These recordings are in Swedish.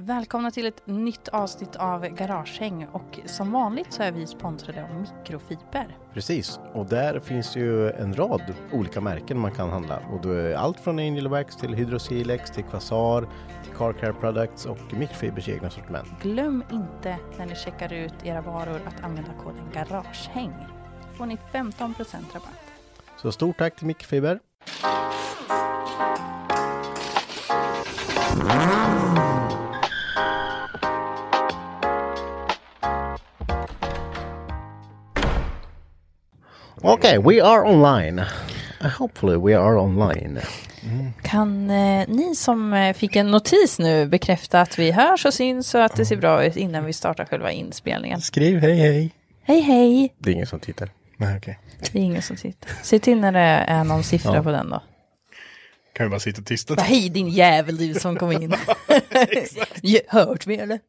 Välkomna till ett nytt avsnitt av Garagehäng och som vanligt så är vi sponsrade av mikrofiber. Precis, och där finns ju en rad olika märken man kan handla. Och då är allt från Angel Wax till Hydrosilex till Quasar, till Car Care Products och mikrofibers egna sortiment. Glöm inte när ni checkar ut era varor att använda koden Garagehäng. Då får ni 15% rabatt. Så stort tack till Mikrofiber. Okay, we are online. Uh, Hopefully we are online. Kan eh, ni som eh, fick en notis nu bekräfta att vi hörs och syns och att det ser bra ut innan vi startar själva inspelningen? Skriv hej hej. Hej hej! Det är ingen som tittar. Nej, okej. Det är ingen som sitter. Se till när det är någon siffra på den då. Kan vi bara sitta tysta? Bara, Hej din jävel du som kom in. Ge- Hört mig eller?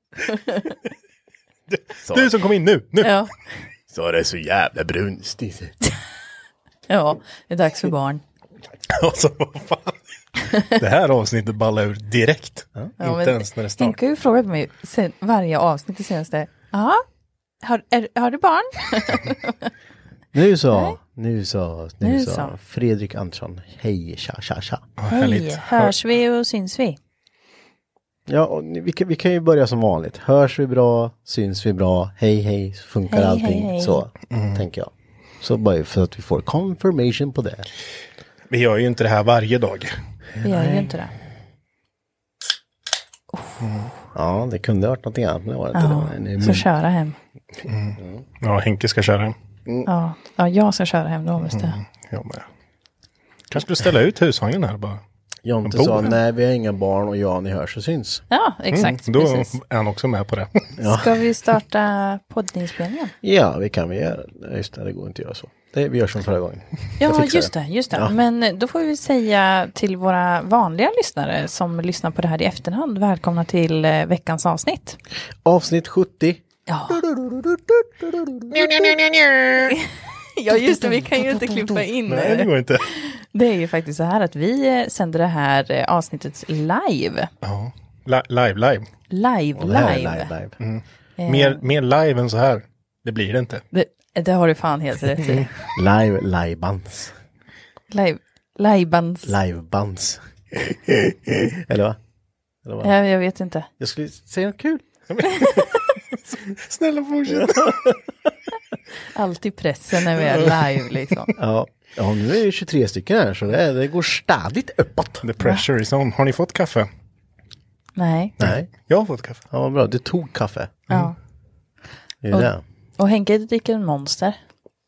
Du som kom in nu, nu! Ja. Så är det så jävla brunstigt. ja, det är dags för barn. Alltså vad fan. Det här avsnittet ballar ur direkt. Ja, Inte ens när det Tänk startar. har ju frågat mig sen, varje avsnitt det senaste. Ja, har, är, har du barn? Nu så, nu så, nu, Nu så. så. Fredrik Andersson, hej tja tja tja. Hej, hörs vi och syns vi? Ja, och ni- vi, kan, vi kan ju börja som vanligt. Hörs vi bra, syns vi bra, hej hej, så funkar Hej, hej, allting hej. så, Mm. tänker jag. Så bara för att vi får confirmation på det. Vi gör ju inte det här varje dag. Vi gör ju inte det. Ja, det kunde ha varit någonting annat, men det var det inte. Det var en- en- Så köra hem. Ja, Henke ska köra hem. Ja, ja jag ska köra hem Mm. då måste jag. Jag med. Kanske skulle ställa ut husvagnen här bara. Jonte en sa, bov. nej vi har inga barn och ja, ni hörs och syns. Ja, exakt. Mm, Då precis. är han också med på det. Ska vi starta poddinspelningen? Ja, vi kan vi göra. Nej, Just det, det går inte att göra så. Det, vi gör som förra gången. Jag Ja, fixar just det. Just det. Ja. Men då får vi säga till våra vanliga lyssnare som lyssnar på det här i efterhand, välkomna till eh, veckans avsnitt. Avsnitt 70. Ja. Ja, just det. Vi kan ju inte klippa in. Nej, det går inte. Det är ju faktiskt så här att vi eh, sänder det här eh, avsnittet live. Ja. Li- Live, live. Live, Det här är live. live. Mm. Mer, mer live än så här. Det blir det inte. Det, eh, det har du fan helt rätt i. Live, livebands. Live, livebands. Livebands. Eller va? Eller va? Ja, jag vet inte. Jag skulle säga något kul. Snälla fortsätt. Alltid pressen när vi är live liksom. Ja. ja, nu är det 23 stycken här så det, det går stadigt uppåt. The pressure is on. Har ni fått kaffe? Nej. Nej, Jag har fått kaffe. ja, vad bra. Du tog kaffe. Ja. Det är det. Och Henke dricker en monster.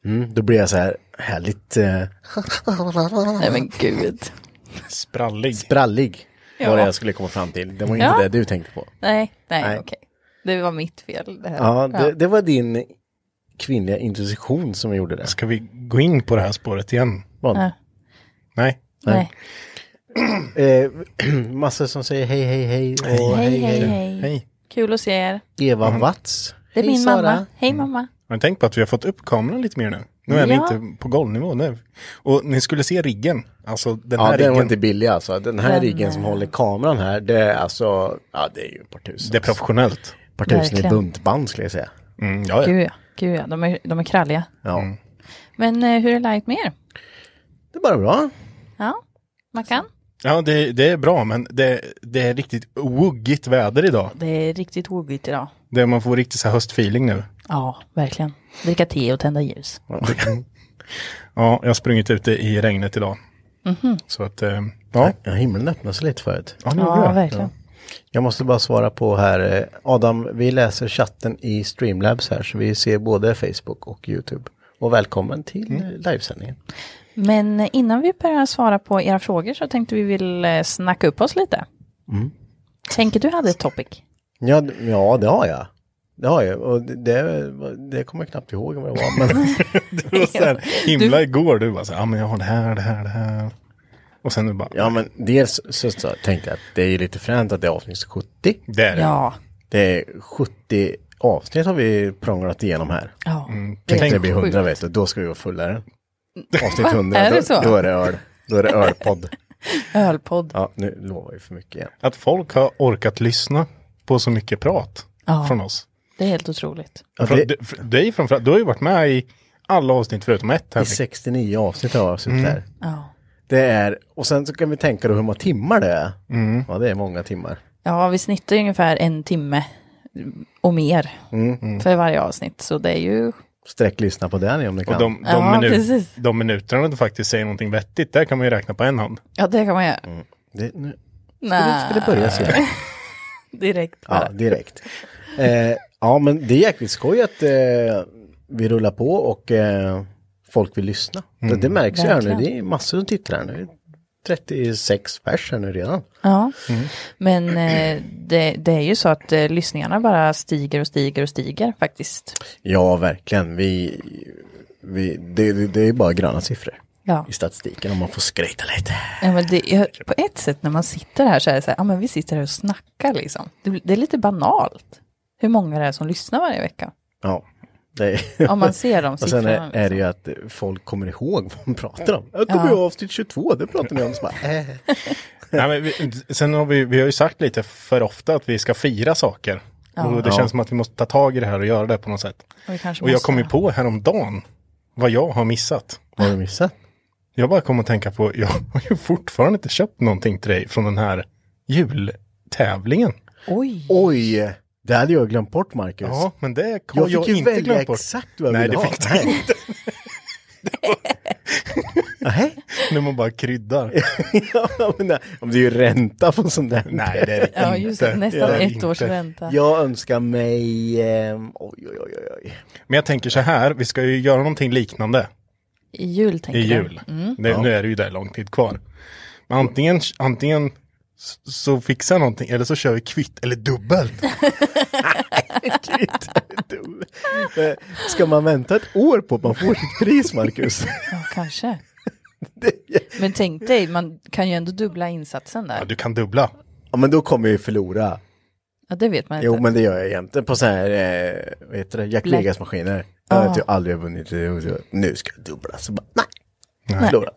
Mm, då blir jag så här härligt eh, Nej men gud. Sprallig. sprallig. Ja. Vad det jag skulle komma fram till. Det var inte Ja. det du tänkte på. Nej, nej, Nej. okej. Det var mitt fel det här. Ja, det, det var din kvinnliga intuition som gjorde det. Ska vi gå in på det här spåret igen? Vad? Nej. Nej. Eh, massor som säger hej, hej, hej och Hej, hej, hej, hej. hej. Hej. Kul att se er. Eva Watz. Det är Hej, min Sara. Mm. mamma. Hej mamma. Har ni tänkt på att vi har fått upp kameran lite mer nu? Nu är Ja. vi inte på golvnivå nu. Och ni skulle se riggen. Alltså den Ja, här den var riggen. inte billig alltså. Den här Den, riggen eh, som håller kameran här, det är alltså, ja det är ju ett par tusen. Det är professionellt. ett par tusen i Verkligen. buntband skulle jag säga. Mm, ja, ja. Gud ja, Gud, ja. De, är, de är kralliga. Ja, Men eh, hur är läget med er? det är bara bra. Ja, man kan. ja det, det är bra men det, det är riktigt wuggigt väder idag. Det är riktigt ogytt idag. Det, man får riktigt så här höstfeeling nu. Ja, verkligen. Dricka te och tända ljus. Ja, jag har sprungit ute i regnet idag. Mhm. Så att, eh, ja. Ja, himlen öppnade sig lite förut. Ja, nu Ja, gjorde jag. verkligen. Jag måste bara svara på här, eh, Adam, vi läser chatten i Streamlabs här så vi ser både Facebook och YouTube. Och välkommen till eh, livesändningen. Men innan vi börjar svara på era frågor så tänkte vi vill eh, snacka upp oss lite. Tänker du hade ett topic? Ja, d- ja, det har jag. Det har jag och det, det, det kommer jag knappt ihåg vad det var. Men Det var så här, himla igår, du bara så här, ja men jag har det här, det här, det här. Och sen du bara, Ja men dels så, så tänkte jag att det är ju lite fränt att det är avsnitt 70. det är det. Ja. Det är 70 avsnitt har vi prånglat igenom här. ja. Tänk när det Tänk blir sjukt. 100 vet du, då ska vi vara fullare. Avsnitt 100, Är det då, så? då är det öl. Då är det ölpodd. Ölpodd. Ja, nu lovar vi för mycket igen. Att folk har orkat lyssna på så mycket prat Ja. från oss. Det är helt otroligt. Ja, Från, det- du, för- dig framförallt, du har ju varit med i alla avsnitt förutom ett. Här. I 69 avsnitt har jag Mm. suttit här. Ja. Det är, och sen så kan vi tänka då hur många timmar det är. Mm. Ja, det är många timmar. Ja, vi snittar ju ungefär en timme och mer för varje avsnitt. Så det är ju... Sträck lyssna på det om ni kan. Och de, de, Ja, minu- precis. de minuterna du faktiskt säger någonting vettigt, där kan man ju räkna på en hand. Ja, det kan man göra. Det, nu Nej, ska det börja sen. direkt bara. Ja, direkt. Eh, ja, men det är jäkligt skoj att eh, vi rullar på och eh, folk vill lyssna. Det, det märks ju här nu, Verkligen. det är massor som tittar här nu. 36 pers här nu redan. Ja, men eh, det, det är ju så att eh, lyssningarna bara stiger och stiger och stiger faktiskt. Ja, verkligen. Vi, vi, det, det, det är bara gröna siffror Ja, i statistiken om man får skryta lite. ja men det är, på ett sätt när man sitter här så är det så här, ja men vi sitter här och snackar liksom. Det, det är lite banalt hur många det är som lyssnar varje vecka. Ja, det är... Om man ser de Och sen siffrorna. är, är det liksom. ju att folk kommer ihåg vad man pratar om. Jag tog Ja. ju avsnitt 22, det pratar ni om. Så bara, eh. Nej, men vi, sen har vi, vi har ju sagt lite för ofta att vi ska fira saker. Och det Ja. känns som att vi måste ta tag i det här och göra det på något sätt. Och, vi kanske Och jag måste- kom ju på häromdagen vad jag har missat. Har du missat? Jag bara kom att tänka på, jag har ju fortfarande inte köpt någonting till dig från den här jultävlingen. Oj, Oj, det hade jag glömt bort Marcus. Ja, men det har Jag jag, fick ju inte välja glömt bort. exakt vad jag Nej, ville det ha. fick du inte. Nej. När man bara kryddar. ja, men, nej, om det är ju ränta på sånt där. Nej, det är det ja inte. just det, nästan Det är det ett inte. års ränta. Jag önskar mig, ehm, oj, oj, oj, oj, oj. Men jag tänker så här, vi ska ju göra någonting liknande I jul i tänker jag. jul. Det, Nu är det ju där lång tid kvar. Men antingen, antingen s- så fixar jag någonting, eller så kör vi kvitt eller dubbelt. Dum. Eh, Ska man vänta ett år på att man får sitt pris, Marcus? Ja, kanske. Det- Men tänk dig, man kan ju ändå dubbla insatsen Ja, där. du kan dubbla. ja, men då kommer jag ju förlora. Ja, det vet man inte. Jo, men det gör jag jämt. På så här, eh, vad heter det, Jack Black- Vegas maskiner. Jag har ju aldrig vunnit. Nu ska jag dubbla. Så bara, nej, förlora.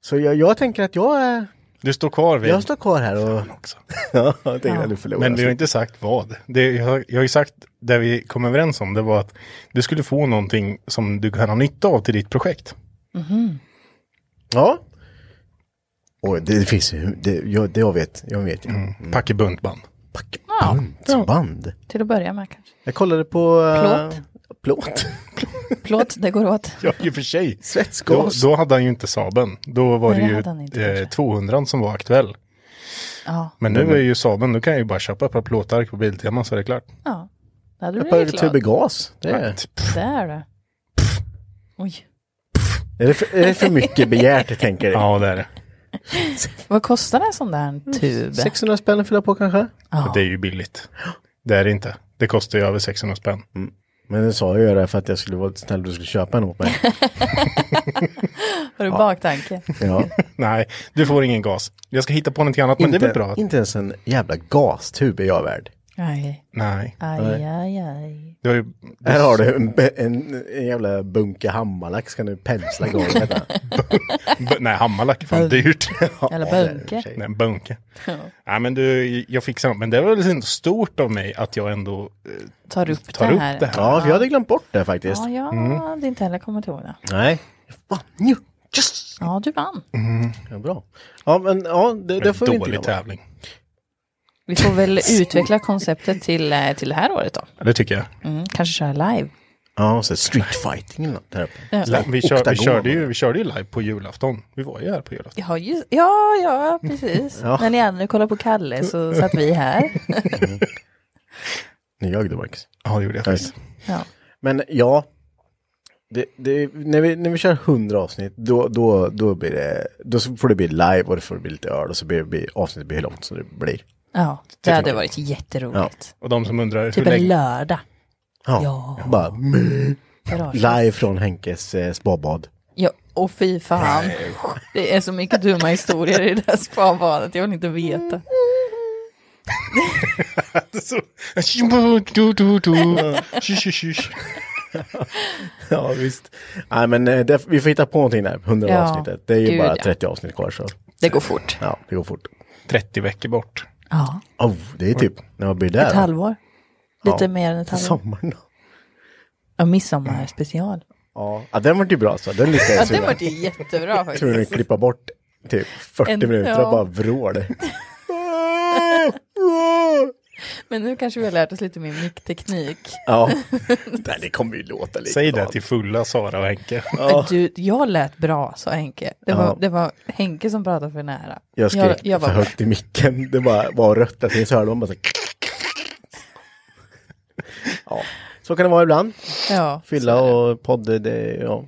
Så jag, jag tänker att jag, eh, Du står kvar vid... jag står kvar här och också. ja, jag tänker att du förlorar. Men vi har inte sagt vad. Det, jag, har- jag har ju sagt, det vi kom överens om, det var att du skulle få någonting som du kan ha nytta av till ditt projekt. Ja. Och det, det finns ju, det, jag, det jag vet, jag vet ju. Pack i buntband. Pack- Buntband. Till att börja med kanske. Jag kollade på... eh, Plåt. Plåt, det går åt. Ja, i och för sig. Då, Svetsgas. då hade han ju inte Saben. Då var Nej, det hade det han ju inte, eh, kanske. 200 som var aktuell. Ja, Men Mm. nu är ju Saben, nu kan jag ju bara köpa ett par plåtark på Biltema så är det klart. ja. Då hade du Ett par blivit glad. tuber gas. Det är, Det är det. Oj. är, det för, är det för mycket begärt, tänker jag. Ja, det är det. Vad kostar en sån där tub? 600 spänn att fylla på kanske? Det är ju billigt. Det är det inte. Det kostar ju över 600 spänn. Men det sa jag ju det för att jag skulle vara lite snäll du skulle köpa en åt mig. Har du baktanke? Ja. Nej, du får ingen gas. Jag ska hitta på någonting annat, men det är väl bra? att- Inte ens en jävla gastub är jag värd. Aj, Nej. aj, aj, aj. Du har ju... Här har du en, en, en jävla bunke hammarlack ska nu pensla golvet. här. B- Nej, hammarlack är fan dyrt. Eller det är det i och bunke. för sig. Nej, en bunke. Nej, men du, jag fixar något. Men det var väl inte stort av mig att jag ändå eh, Tar upp tar det upp här. det här. Mm. Ja, för jag hade glömt bort det faktiskt. Ja, jag hade inte heller kommit ihåg det. Nej. Fan, ju. Yes! Ja, du vann. Ja, bra. Ja, men ja, det, det Men får vi inte dålig glömma. tävling. Vi får väl utveckla konceptet till, eh, till det här året då. Ja, det tycker jag. Mm, kanske köra live. Ja, så street fighting eller något där uppe. La- Vi, kör, vi, Oktagon. körde ju, vi körde ju live på julafton. Vi var ju här på julafton. Ja, just, ja, ja, precis. Ja. När ni andra kollade på Kalle så satt vi här. Nu ljög du Marcus. Ja, det gjorde jag faktiskt. Ja. Men ja, det, det, när, vi, när vi kör 100 avsnitt då, då, då, blir det, då får det bli live och det får bli lite öl och så blir, blir avsnittet blir hur långt som det blir. Ja, det hade varit jätteroligt. Och de som undrar hur Typ en länge... lördag. Ja. Ja. Bara meh. Garage. live från Henkes eh, spabad. Ja, och fy fan. Det är så mycket dumma historier i det där spabadet. Jag vill inte veta. Så- Du, du, du. Tjus, tjus, tjus. Ja visst. Nej men eh, det, vi får hitta på någonting där, 100 Ja. avsnittet. Det är ju Gud, ja. bara 30 avsnitt kvar så Det går fort. ja, det går fort. 30 veckor bort. Ja, Oh, det är typ, när man blir ett där. halvår. Lite Ja. mer än ett halvår. Sommaren. Ja, midsommarspecial. Ja, ja den vart ju bra så. Den lyckades Ja, ju det där. var ju jättebra Tror du faktiskt. klippa bort typ 40 En- minuter ja. och bara vrål? Men nu kanske vi har lärt oss lite mer mickteknik. ja. Nej, det kommer ju låta lite. Säg det till fulla Sara och Henke. Du, jag lät bra, sa Henke. Det var, Ja. det var Henke som pratade för nära. Jag skrek jag för var högt i micken. Det bara var rött. där, sen Så hörde man bara så här- Ja, så kan det vara ibland. Ja, Fylla och podd, det, ja.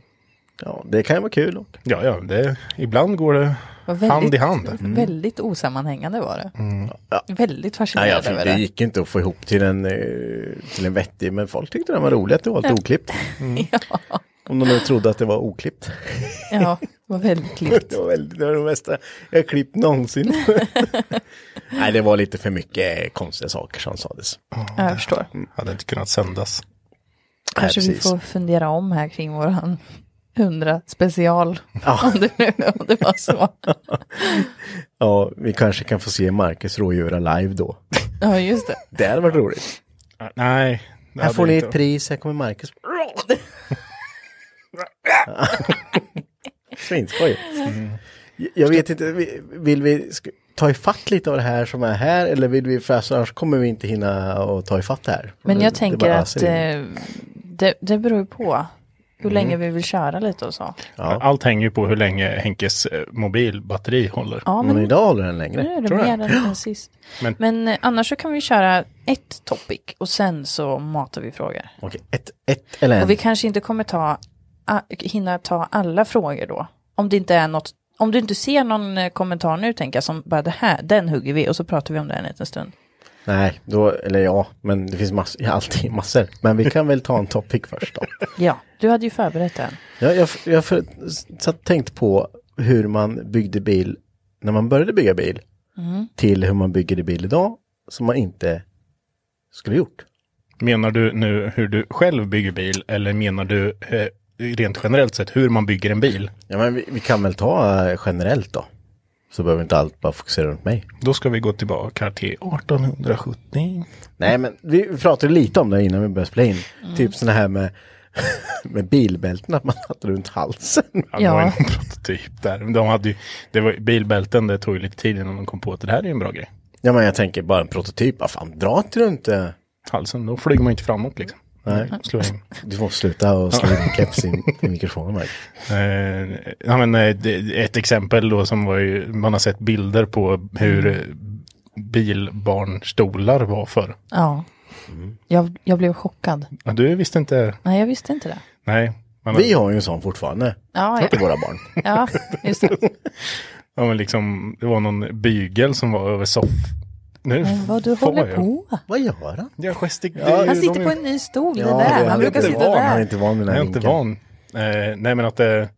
Ja, det kan ju vara kul. Och, Ja, ja, det, ibland går det var väldigt, Mm. hand i hand. Väldigt osammanhängande var det. Mm. Ja. Väldigt nej, jag fascinerad fick, över det det. gick inte att få ihop till en, eh, till en vettig, men folk tyckte den var rolig att det var allt oklippt. Mm. Om de nu trodde att det var oklippt. Ja, det var väldigt klippt. Det var väldigt, det var det bästa jag har klippt någonsin. Nej, det var lite för mycket konstiga saker som sades. Ja, jag förstår. Hade inte kunnat sändas. Kanske vi precis. får fundera om här kring våran 100 special. Ja. Om, det, nu- om det var så. Ja, vi kanske kan få se Marcus rådjura live då. Ja, just det. Det hade varit roligt. Ah, Nej. det Här hade får ni inte- ett pris, här kommer Marcus. Svinskoj. Mm. Jag vet inte, vi- vill vi sk- ta ifatt lite av det här som är här eller vill vi, för annars kommer vi inte hinna att ta ifatt det här. Men Det- jag det tänker bara att öser in. Mm. eh, det, det beror ju på hur länge vi vill köra lite och så. Allt hänger ju på hur länge Henkes eh, mobilbatteri håller. Ja, Men men idag håller den längre. nu är det tror jag. mer än sist. Men, Men- eh, annars så kan vi köra ett topic och sen så matar vi frågor. Okej, ett, ett eller en. Och vi kanske inte kommer ta, a, hinna ta alla frågor då. Om det inte är något, om du inte ser någon eh, kommentar nu tänker jag som bara det här, den hugger vi och så pratar vi om det en liten stund. Nej, då, eller ja, men det finns massor, ja, alltid massor. Men vi kan väl ta en topic först då. Ja, du hade ju förberett den. Jag, jag, jag för, satt tänkt på hur man byggde bil när man började bygga bil till hur man bygger bil idag som man inte skulle gjort. Menar du nu hur du själv bygger bil eller menar du eh, rent generellt sett hur man bygger en bil? Ja, men vi, vi kan väl ta eh, generellt då. Så behöver inte allt bara fokusera runt mig. Då ska vi gå tillbaka till 1870. Nej, men vi pratade lite om det innan vi började spela in. Typ sådana här med, med bilbälten, att man satte runt halsen. Ja, Det var ju Ja. någon prototyp där. Men De hade ju, det var, bilbälten, det tog ju lite tid innan de kom på att det här är ju en bra grej. Ja, men jag tänker bara en prototyp. Ja, fan, dra inte runt eh. det. Halsen, då flyger man ju inte framåt liksom. Nej. Slå in. Du får sluta och slå in keps i, i mikrofonen. Mark. Eh, ja, men, eh, det- ett exempel då som var ju, man har sett bilder på hur Mm. eh, bilbarnstolar var förr. Ja. Mm. Jag, jag blev chockad. Ja, du visste inte, Nej, jag visste inte det. nej. Man, Vi har ju en sån fortfarande. Ja, Till ja. våra barn. ja just det. ja, men liksom, det var någon bygel som var över soff, Nu Men vad du får håller jag. på. Vad gör han? Jag gestik- Ja, Han de sitter är- på en ny stol, det Ja, det där. är Han brukar inte sitta van. Han är där. inte van vid den här Jag är inte vinkeln. van. Eh, nej, men att det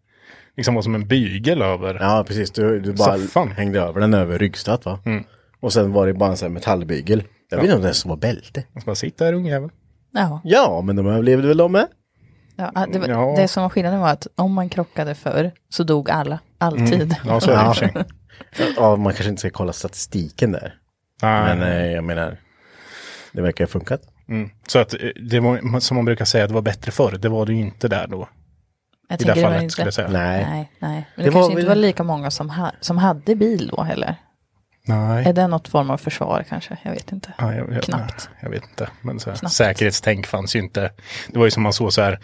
liksom var som en bygel över. Ja, precis. Du, du bara Soffan. hängde över den över ryggstöt va? Och sen var det bara en sån här metallbygel. Jag vet inte om det ens var bälte. Jag ska bara sitta här ungjävel. Ja, Ja, men de överlevde väl de med? ja, det, Ja. var, det som var skillnaden var att om man krockade förr så dog alla, alltid. Mm. Ja, så är det i och för sig. Ja, man kanske inte ska kolla statistiken där. Nej. Men eh, jag menar, det verkar ha funkat. Så att eh, det var, som man brukar säga, det var bättre förr. Det var det ju inte där då. Jag I det tänker var fallet inte- skulle jag säga. Nej. Nej, nej. Men det, Det var kanske inte väl- var lika många som, ha, som hade bil då heller. Nej. Är det något form av försvar kanske? Jag vet inte. Ja, jag, jag, Knappt. Jag vet inte. Men så här, säkerhetstänk fanns ju inte. Det var ju som man såg så här.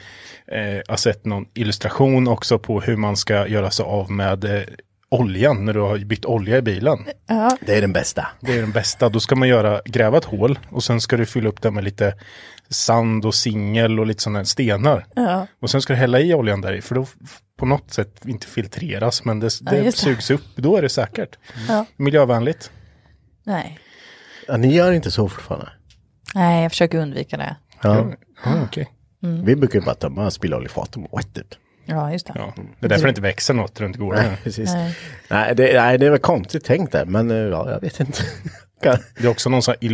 Eh, jag har sett någon illustration också på hur man ska göra sig av med eh, oljan när du har bytt olja i bilen. Det är den bästa. Det är den bästa. Då ska man göra, gräva ett hål och sen ska du fylla upp det med lite sand och singel och lite sådana här stenar. Och sen ska du hälla i oljan där i för då f- på något sätt inte filtreras men det, det just det. Mm. sugs upp. Då är det säkert. Ja. Miljövänligt. Nej. Ja, ni gör inte så fortfarande. nej, jag försöker undvika det. Ja. Ah, okej. Vi brukar ju bara tömma spilloljefaten och typ. Ja, just det. Ja. Det är därför det inte växer något runt gården. Nej, precis. Nej. Nej, det, nej, det är väl konstigt tänkt där, men eh, ja, jag vet inte. Kan- Det är också någon sån här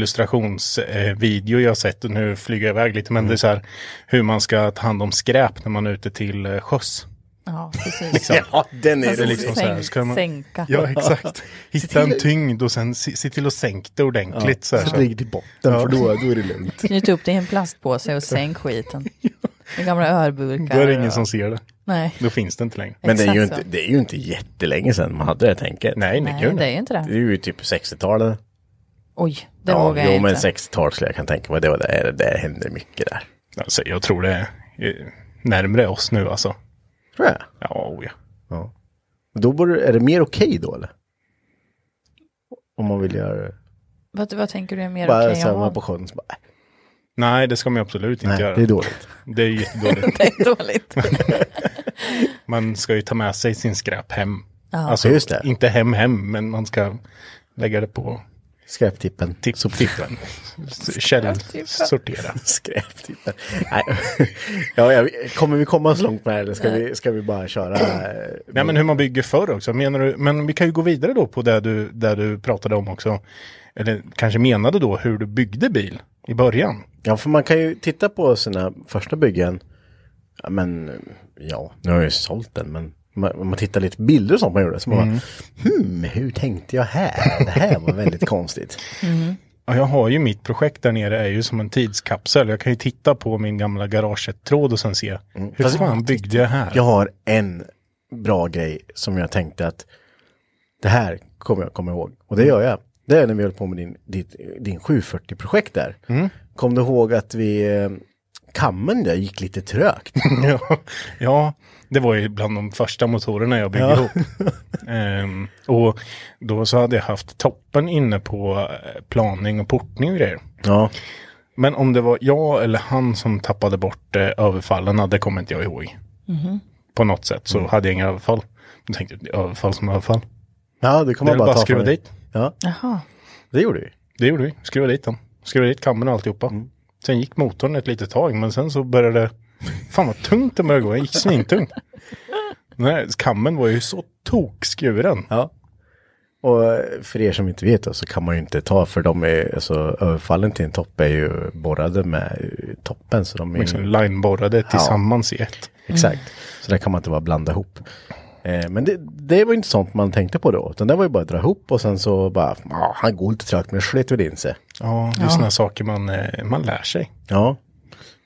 illustrationsvideo jag har sett, och nu flyger jag iväg lite, men Mm. det är så här hur man ska ta hand om skräp när man är ute till eh, sjöss. liksom. Ja, precis. ja, den är Alltså, det liksom. så här, sänk- ska man- Sänka. Ja, exakt. Hitta en tyngd och sen se, se till att sänka det ordentligt. Så här, Så så. det ligger till botten, för då, då är det lugnt. Knyt upp det i en plastpåse och sänk skiten. Med gamla ölburkar. Då är det ingen och- som ser det. Nej. Då finns det inte längre. Men det är, ju Exakt inte, så. det är ju inte jättelänge sedan man hade det tänket. Nej, nej, Nej, gud, det nej. är inte Det det. är ju typ 60-talet. Oj, det vågar jag jo, men inte. 60-tal skulle jag kan tänka mig. Det var där, där hände mycket där. Alltså, jag tror det är eh, närmre oss nu alltså. Tror jag. Ja, oh, ja. Ja. Då borde, är det mer okej då eller? Om man vill göra det. Vad, vad tänker du är mer Bara okej så här, om? vara på sjön så bara, äh, Nej, det ska man ju absolut inte nej, göra. det är dåligt. Det är ju jättedåligt. Det är dåligt. Man ska ju ta med sig sin skräp hem. Alltså, Just det. inte hem hem, men man ska lägga det på Skräptippen. Tipp, tippen. Källsortera. Skräptippen. typ. Nej. ja, jag, kommer vi komma så långt med det här, eller ska vi, ska vi bara köra? eh, Nej men hur man bygger förr också. Menar du, men vi kan ju gå vidare då på det du, där du pratade om också. Eller kanske menade då hur du byggde bil i början. Ja, för man kan ju titta på sina första byggen. Ja, men ja, nu har jag ju sålt den, men man- om man tittar lite bilder och sånt man gjorde så man bara, hmm, hur tänkte jag här? Det här var väldigt konstigt. Ja, jag har ju mitt projekt där nere är ju som en tidskapsel. Jag kan ju titta på min gamla garagetråd och sen se hur Mm. Fast- fan byggde jag här? Jag har en bra grej som jag tänkte att det här kommer jag komma ihåg. Och Mm. det gör jag. Det är när vi höll på med din, ditt, din 740-projekt där. Mm. Kom du ihåg att vi, eh, kammen där gick lite trögt? Ja, ja, det var ju bland de första motorerna jag byggde Ja. ihop. Ehm, och då så hade jag haft toppen inne på eh, planing och portning och grejer. Ja, Men om det var jag eller han som tappade bort eh, överfallen, det kommer inte jag ihåg. På något sätt så hade jag inga överfall. Då tänkte jag, överfall som överfall. ja det det kommer är man bara, bara ta att skruva från dig. dit. Ja, Jaha. det gjorde vi. Det gjorde vi, skruva dit den. Skruva dit kammen och alltihopa. Mm. Sen gick motorn ett litet tag, men sen så började det... Fan vad tungt det började gå, den gick svintungt. Den här kammen var ju så tokskuren. Ja. Och eh, för er som inte vet då, så kan man ju inte ta för de är, alltså överfallen till en topp är ju borrade med eh, toppen så de är Liksom lineborrade tillsammans i ett. exakt. Mm. Så där kan man inte bara blanda ihop. Eh, men det, det var inte sånt man tänkte på då, utan det var ju bara att dra ihop och sen så bara, "Ah, han går lite trögt men slet väl in sig. Ja, det är sådana saker man, eh, man lär sig. Ja.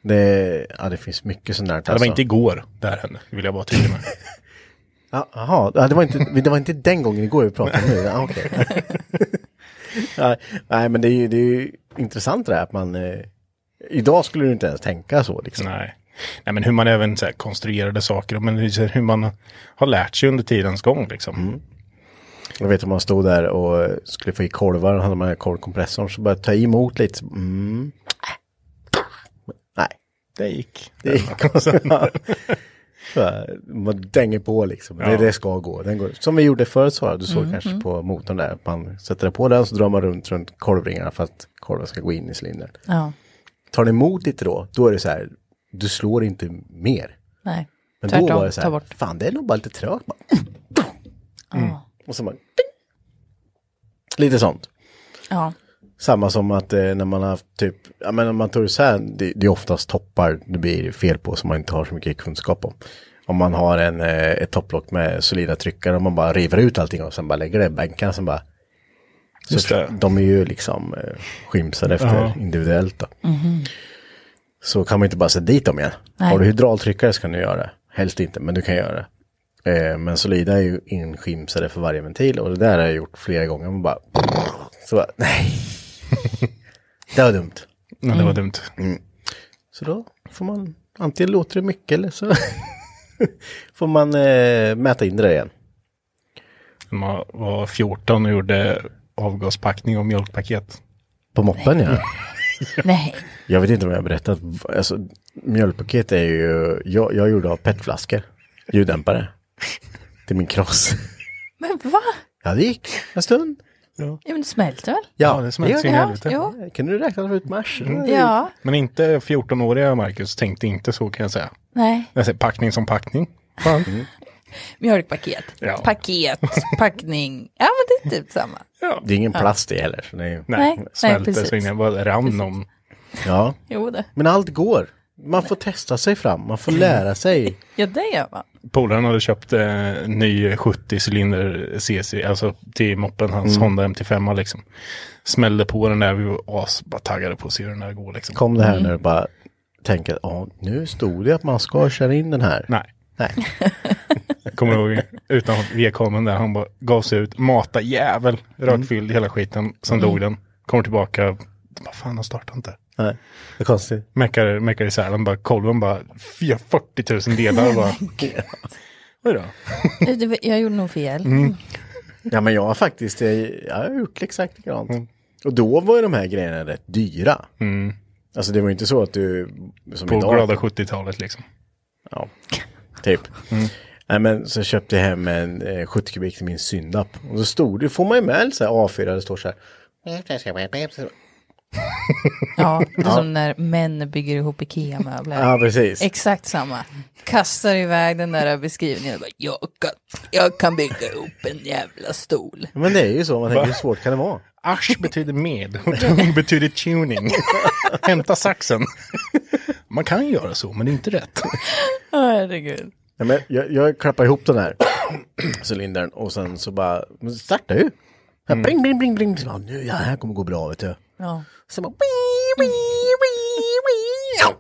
Det, ja, det finns mycket sånt där. alltså. Det var inte igår det här hände, vill jag bara tydlig med. Ja, Jaha, ja, det, var inte, men det var inte den gången igår vi pratade om det. Ja, okej. Nej, Nej, men det är ju, det är ju intressant det här att man... Eh, idag skulle du inte ens tänka så liksom. Nej. Nej, men hur man även så här, konstruerade saker, men det är så här hur man har lärt sig under tidens gång. Liksom. Jag vet om man stod där och eh, skulle få i kolvar och hade man kolvkompressorn så bara ta emot lite. så- Mm. Nej, Det gick. det gick. Bara, Man dänger på liksom. Det, Ja. det ska gå. Den går. Som vi gjorde förut Sara, du såg Mm, kanske på motorn där. Man sätter på den så drar man runt runt korvringarna för att korven ska gå in i cylindern. Ja, Tar den emot lite då, då är det så här, du slår inte mer. nej. Men då Tvärtom, var det så ta här, bort. Mm. fan det är nog bara lite trögt. Bara. Ja. Och så bara, ding. Lite sånt. Ja, Samma som att eh, när man har haft typ, ja men om man tar isär, det, det är oftast toppar det blir fel på som man inte har så mycket kunskap om. Om man har en, eh, ett topplock med solida tryckare och man bara river ut allting och sen bara lägger det i bänken sen bara. Så Just det. De är ju liksom eh, skimsade efter Ja. individuellt då. Så kan man inte bara sätta dit dem igen. Nej. Har du hydraultryckare så kan du göra det. Helst inte, men du kan göra det. Eh, men solida är ju inskimsade för varje ventil och det där har jag gjort flera gånger. Man bara, så bara, nej. Det var dumt. Ja, det var dumt. Så då får man, antingen låter det mycket eller så får man eh, mäta in det där igen. När man var 14 och gjorde avgaspackning och mjölkpaket. På moppen ja. nej. Jag vet inte om jag har berättat. Alltså, mjölkpaket är ju, jag, jag gjorde av petflaskor. Ljuddämpare. Till min kross. Men va? Ja det gick en stund. Ja, men det smälter väl? Ja, det smälter sin gör helvete. jo. det. Kan du räkna ut mars? Mm. Ja, Men inte 14-åriga Marcus tänkte inte så kan jag säga. nej. Jag säger packning som packning. Fan. Mjölkpaket, Ja. paket, packning. Ja, men det är typ samma. Det är ingen plast i heller. Så det är, ju- Nej, Nej, nej, smälter precis. så in jag bara rann om. ja. Jo, det. Men allt går. Man får testa sig fram. Man får lära sig. Ja, det gör man. Polaren hade köpt eh, ny 70-cylinder CC, alltså till moppen, hans Honda MT5 liksom. Smällde på den där, vi var as, bara taggade på att se hur den där går liksom. Kom det här när du bara tänker att ja, nu stod det att man ska köra in den här. Nej. Nej. Kommer du ihåg utan V-kameran där han bara gav sig ut, mata jävel, rökfylld hela skiten, sen dog den. Kommer tillbaka, vad fan han startar inte. Nej. Det är konstigt. Mäckar, mäckar isär den, bara kolven bara, "Fy, 40 000 delar bara. Oj då. Det- det- Jag gjorde nog fel. Mm. Ja men jag har faktiskt, eh, jag har gjort exakt likadant. Mm. Och då var ju de här grejerna rätt dyra. Alltså det var ju inte så att du, som På idag. glada 70-talet liksom. Ja, typ. Nej men så köpte jag hem en eh, 70 kubik till min syndapp. Och så stod det, får man ju med så här A4, det står så här. Mm. Ja, det är som när män bygger ihop IKEA-möbler. Ja precis. Exakt samma. Kastar iväg den där beskrivningen. och Bara, jag, kan, jag kan bygga upp en jävla stol. Men det är ju så, man tänker hur svårt kan det vara? Asch betyder med och tung betyder tuning. Hämta saxen. Man kan göra så, men det är inte rätt. Herregud. Ja, men jag, jag klappade ihop den här cylindern och sen så bara, men starta ju. Mm. Bring, bring, bring, bring. Så, bara, nu, ja, det här kommer gå bra vet du. Ja. Sen bara... "Wii, wii, wii, wii." Ja.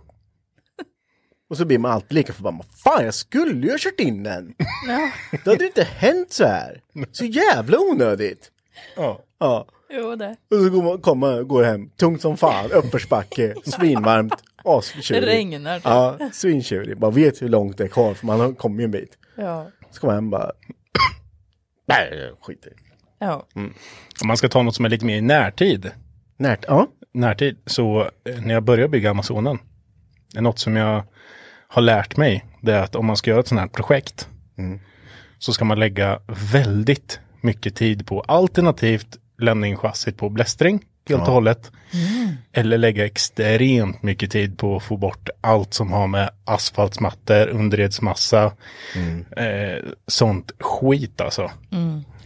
Och så blir man alltid lika förbannad. Fan, jag skulle ju ha kört in den. Då hade det inte hänt så här. Så jävla onödigt. Ja. Ja. Jo, det. Och så går man, kommer, går hem, tungt som fan, uppförsbacke, svinvarmt, Det astjurig. regnar. Ja. Ja, svintjurig. Man vet hur långt det är kvar, för man kommer ju en bit. Ja. Så kommer man hem bara... Nej, skit i det. ja. Om man ska ta något som är lite mer i närtid. Närt, ja. närtid så eh, när jag började bygga Amazonen, det är något som jag har lärt mig, det är att om man ska göra ett sånt här projekt så ska man lägga väldigt mycket tid på alternativt lämna in chassit på blästring helt och hållet. Eller lägga extremt mycket tid på att få bort allt som har med asfaltsmattor, underredsmassa, eh, sånt skit alltså.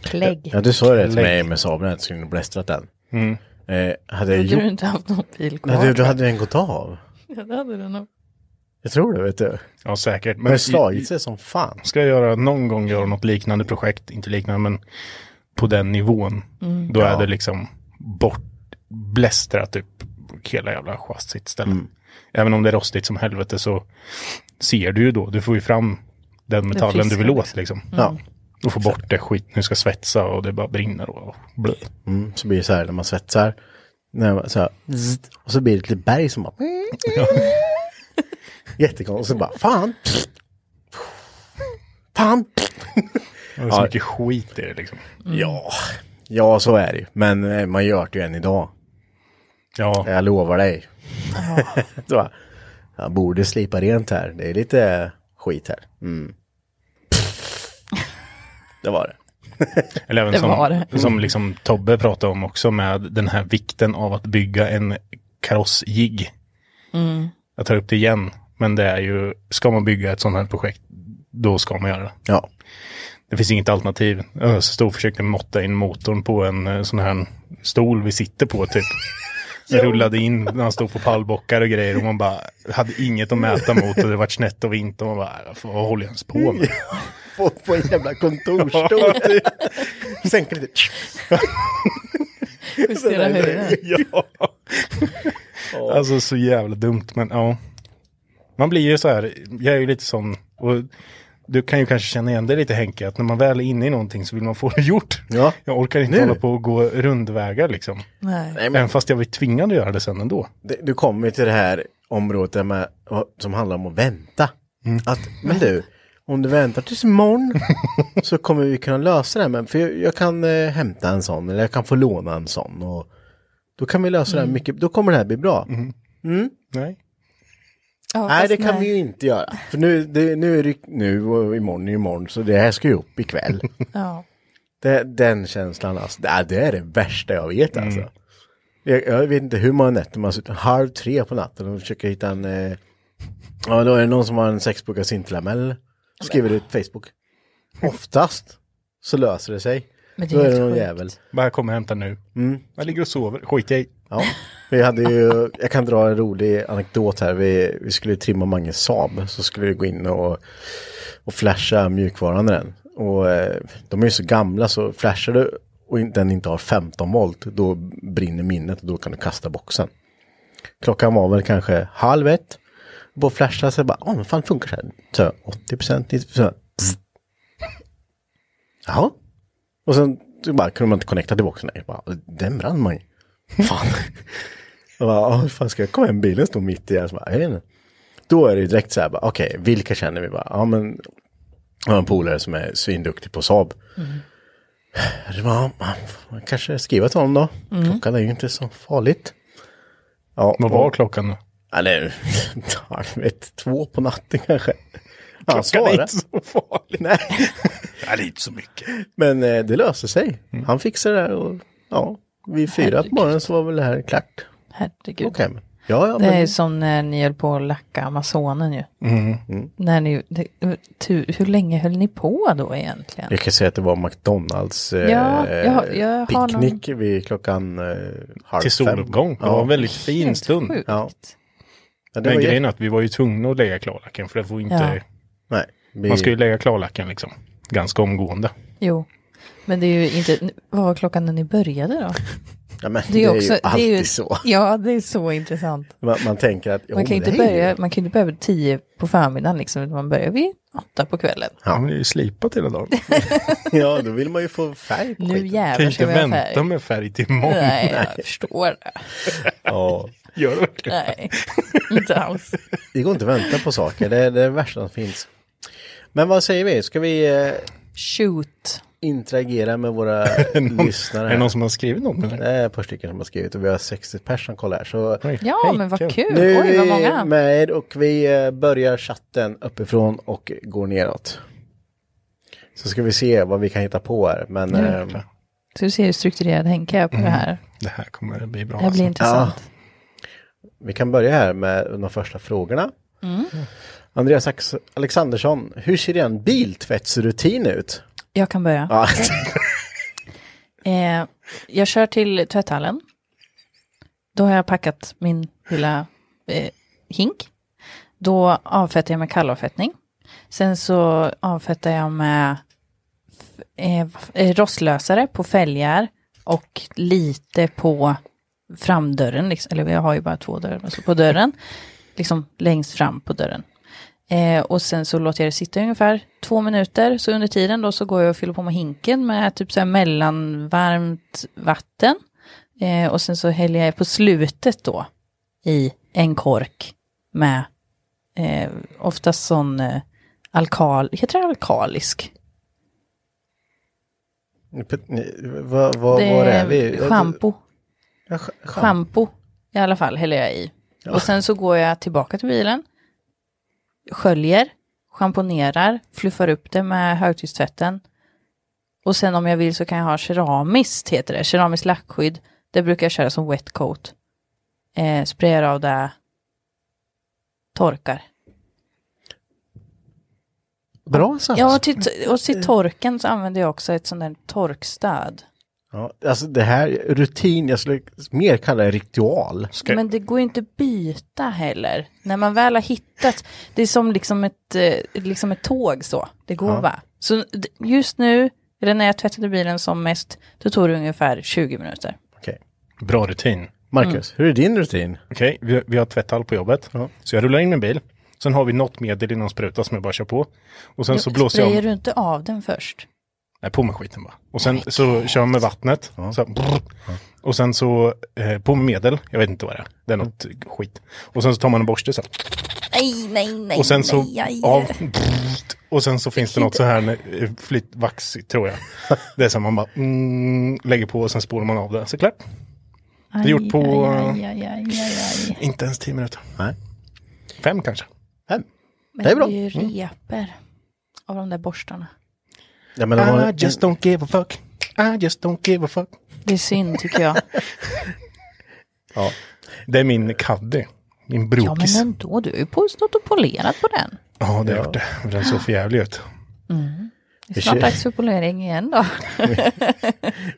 Klägg. Ja, du sa ju det till mig med sabeln, att du skulle ha blästrat den. Eh, hade jag Hade gjort... du inte haft någon bil kvar? Nej, du, då hade den gått av. Ja, det hade du nog. Jag tror det, vet du. Ja, säkert. Men det slagit sig som fan. ska jag göra någon gång göra något liknande projekt, inte liknande men på den nivån, då är det liksom bort, blästra typ hela jävla chassit istället. Även om det är rostigt som helvete så ser du ju då, du får ju fram den metallen du friska, vill åt liksom. Ja. Och få bort det skit, nu ska svetsa och det bara brinner och blö. Mm, så blir det så här när man svetsar. När man, så här, zzzt, och så blir det ett litet berg som bara... Jättekonstigt. Och så bara, fan! Fan! Det är så mycket skit i det liksom. Ja. Ja, så är det ju. Men eh, man gör det ju än idag. Ja, Jag lovar dig. så, bara, jag borde slipa rent här. Det är lite skit här. Mm. det var det. Eller även Det Mm. var som, det. som liksom Tobbe pratade om också med den här vikten av att bygga en karossjigg. Mm. Jag tar upp det igen, men det är ju, ska man bygga ett sånt här projekt, då ska man göra det. Ja, Det finns inget alternativ. Öse stod och försökte måtta in motorn på en eh, sån här stol vi sitter på typ. Jag rullade in när han stod på pallbockar och grejer och man bara hade inget att mäta mot och det vart snett och vint och man bara, "Äh, vad håller jag ens på med? på, på en jävla kontorsstol. Sänker lite. Justera höjden. ja. alltså så jävla dumt, men ja. Man blir ju så här, jag är ju lite sån, och du kan ju kanske känna igen det lite Henke, att när man väl är inne i någonting så vill man få det gjort. Ja. Jag orkar inte Nu. Mm. hålla på och gå rundvägar liksom. Nej. Nej, men Även fast jag var tvingad att göra det sen ändå. det, du kommer ju till det här området där med, som handlar om att vänta. Att, men du, om du väntar tills imorgon så kommer vi kunna lösa det här. Men för jag, jag kan eh, hämta en sån eller jag kan få låna en sån. Och då kan vi lösa det här mycket, då kommer det här bli bra. Nej. Ja, Nej, fast det kan nej. vi ju inte göra. För nu, det, nu är det nu och imorgon är imorgon, så det här ska ju upp ikväll. Ja. det, den känslan, alltså, det, det är det värsta jag vet Mm. alltså. Jag, jag vet inte hur många nätter man har suttit halv tre på natten och försöker hitta en, eh, ja då är det någon som har en sexbokad sintelamell, skriver det på Facebook. Oftast så löser det sig. Men det är då är helt det någon sjukt. jävel. Bara kom och hämta nu. Mm. Jag ligger och sover, skit jag i. Ja, vi hade ju, jag kan dra en rolig anekdot här. Vi, vi skulle trimma Manges Saab, så skulle vi gå in och, och flasha mjukvaran i den. Och eh, de är ju så gamla så flashar du och in- den inte har 15 volt, då brinner minnet och då kan du kasta boxen. Klockan var väl kanske halv ett. På flasha så jag bara, ja men fan funkar det här? Så jag, 80 procent, 90 procent. Ja. Och sen så bara, kunde man inte connecta till boxen. Jag bara, den brann man ju. Fan. Jag bara, "Ja, hur fan ska jag komma hem? Bilen står mitt i. Jag så bara, jag vet inte. Då är det ju direkt så här, bara, okej, vilka känner vi? Bara, ja men, jag har en polare som är svinduktig på Saab. Jag bara, "Ja, man kanske skriva till honom då. Klockan är ju inte så farligt. Ja, Vad var klockan då? Eller, halv ett, två på natten kanske. Han Klockan är svarade. inte så farlig. Nej. Nej, det är inte så mycket. Mm. Men eh, det löste sig. Han fixade det här och ja, vid fyra på morgonen så var väl det här klart. Herregud. Okej. men- Ja, ja, Det men är ju som när ni höll på att lacka Amazonen ju. Mm, När ni, det, tu, hur länge höll ni på då egentligen? Jag kan säga att det var McDonalds eh, Ja, jag har- jag har någon- picknick vid klockan eh, halv Till soluppgång. Det Ja. var en väldigt fin Helt stund. sjukt. Ja. Ja, det Men var grejen jätte- är att vi var ju tvungna att lägga klarlacken för det får inte... Nej, vi, Man ska ju lägga klarlacken liksom. Ganska omgående. Jo. Men det är ju inte, vad var klockan när ni började då? ja, men Det är, också, ju alltid det är ju, så. Ja, det är så intressant. Man, man tänker att... Man jo, kan ju inte det är ju- börja, man kan ju inte börja vid tio på förmiddagen liksom, utan man börjar vid åtta på kvällen. Ja, men det är ju slipat hela dagen. Ja, då vill man ju få färg på Nu skiten. Kan jävlar ju ska inte vi ha vänta färg. med färg till imorgon. Nej, jag förstår det. Ja. Gör det verkligen? Nej, inte alls. Det går inte att vänta på saker. Det är det värsta som finns. Men vad säger vi? Ska vi eh, Shoot. interagera med våra lyssnare? Är här? det någon som har skrivit något? eller? Det är ett par stycken som har skrivit och vi har 60 personer som kollar här. Så Oj. Ja, Hej, men vad kul. Nu Oj, vad är många. vi med och vi eh, börjar chatten uppifrån och går neråt. Så ska vi se vad vi kan hitta på här. Men eh, Så du ser hur strukturerad Henke är på det här. Det här kommer att bli bra. Det här blir alltså. intressant. vi kan börja här med de första frågorna. Mm. Andreas Ax- Alexandersson, hur ser en biltvättsrutin ut? Jag kan börja. Ja, Eh, jag kör till tvätthallen. Då har jag packat min lilla eh, hink. Då avfettar jag med kallavfettning. Sen så avfettar jag med f- eh, f- eh, rostlösare på fälgar och lite på framdörren. Liksom, eller jag har ju bara två dörrar, men så på dörren. Liksom längst fram på dörren. Eh, och sen så låter jag det sitta i ungefär två minuter. Så under tiden då så går jag och fyller på med hinken med typ så här mellanvarmt vatten. Eh, och sen så häller jag på slutet då i en kork med eh, oftast sån eh, alkal, heter det alkalisk? vad, vad, det var är vi? Shampoo. Ja, sch- schamp- Shampoo i alla fall häller jag i. Och sen så går jag tillbaka till bilen, sköljer, schamponerar, fluffar upp det med högtystvätten. Och sen om jag vill så kan jag ha keramiskt, heter det, keramiskt lackskydd. Det brukar jag köra som wet coat. Eh, sprayar av det, torkar. Bra Sams. Ja, och till, och till torken så använder jag också ett sånt där torkstöd. Ja, alltså det här rutin, jag skulle mer kalla det ritual. Ska- Men det går ju inte att byta heller. När man väl har hittat, det är som liksom ett, eh, liksom ett tåg så. Det går Ja. va? Så d- just nu, eller när jag tvättade bilen som mest, då tog det ungefär 20 minuter. Okej. alltså. Bra rutin. Mm. Marcus, hur är din rutin? Okej, vi, vi har tvätthall på jobbet. Så jag rullar in min bil. Sen har vi något medel i någon spruta som jag bara kör på. Och sen så blåser jag Sprayar om, du inte av den först? nej, på med skiten bara. Och sen så kör jag med vattnet. Så här, brr. Och sen så eh, på med medel, jag vet inte vad det är. Det är något skit. Och sen så tar man en borste så här. Nej, nej, nej. Och sen så nej, aj. av. Och sen så finns det något så här eh, flyttvax tror jag. Det är som man bara mm, lägger på och sen spolar man av det. Så klart. Det är gjort på Aj, aj, aj, aj, aj, aj. eh, inte ens tio minuter. Nej. Fem kanske. Fem. Men Det är bra. ju Mm. repor av de där borstarna. Ja, men de har, I Ah, just don't give a fuck. I just don't give a fuck. Det är synd tycker jag. Ja. Det är min caddy. Min ja, brokis. men Ja, ändå, du har ju på- stått och polerat på den. det har jag gjort det. Den såg för jävlig ut. Det är snart kör- dags för polering igen då.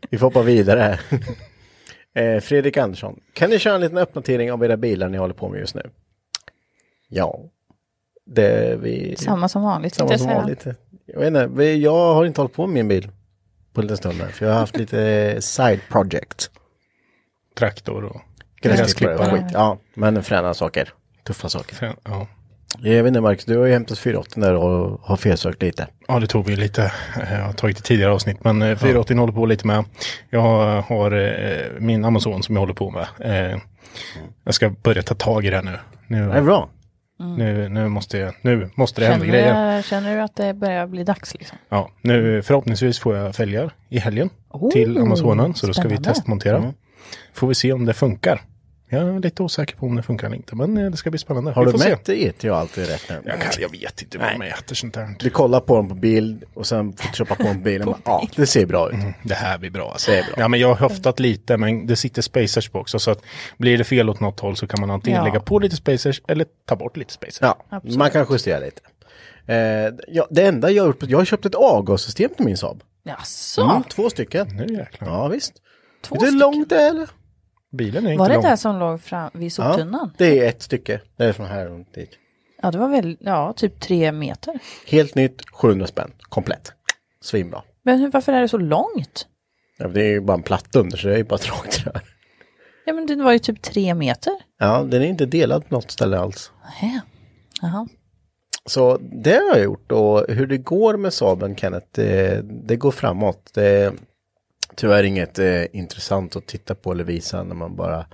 vi får hoppa vidare. eh, Fredrik Andersson, kan ni köra en liten uppdatering av era bilar ni håller på med just nu? Ja. Det vi... Samma som vanligt. tänkte Samma jag som säga. vanligt. Jag vet inte, vi- jag har inte hållit på med min bil på en liten stund här, för jag har haft lite eh, side project. Traktor och... Gräsklippare och Gräsklippare. skit. Ja, men fräna saker. Tuffa saker. frön- Ja. Jag vet inte Marcus, du har ju hämtat 480 där och har felsökt lite. ja, det tog vi lite. eh, Jag har tagit i tidigare avsnitt. Men eh, 480 håller på lite med. Jag har eh, min Amazon som jag håller på med. Eh, Jag ska börja ta tag i det här nu. Det är Nu, bra. nu, nu, måste, jag, nu måste det hända Känner grejer. du, känner du att det börjar bli dags liksom? Ja, nu förhoppningsvis får jag fälgar i helgen till Amazonen. Så då ska vi spännande. testmontera. Får vi se om det funkar. Jag är lite osäker på om det funkar eller inte, men eh, det ska bli spännande. Har vi du får se. mätt ET och allt det rätt nu? Jag, kan, jag vet inte vad man äter sånt här. Du kollar på dem på bild och sen photoshopar på en bild och bara, ja, det ser bra ut. Det här blir bra. Alltså. Ja, men jag har höftat lite, men det sitter spacers på också. Så att blir det fel åt något håll så kan man antingen Ja. lägga på lite spacers eller ta bort lite spacers. Ja, man kan justera lite. Eh, ja, det enda jag har gjort, jag har köpt ett avgassystem till min Saab. Jaså, Mm, två stycken. Nu jäklar. Ja, visst. två Vet du hur stycken. långt det är eller? Bilen är inte Var det lång. det som låg fram vid soptunnan? Ja. det är ett stycke. Det är från här och dit. det var väl, ja, typ tre meter. Helt nytt, 700 spänn, komplett. Svinbra. Men hur- varför är det så långt? Ja, det är ju bara en platta under så det är ju bara ett rakt rör. Ja, men det var ju typ tre meter. Ja, den är inte delad på något ställe alls. Nähä. Jaha. Så det har jag gjort och hur det går med Saaben Kenneth, det, det går framåt. Det är tyvärr inget eh, intressant att titta på eller visa när man bara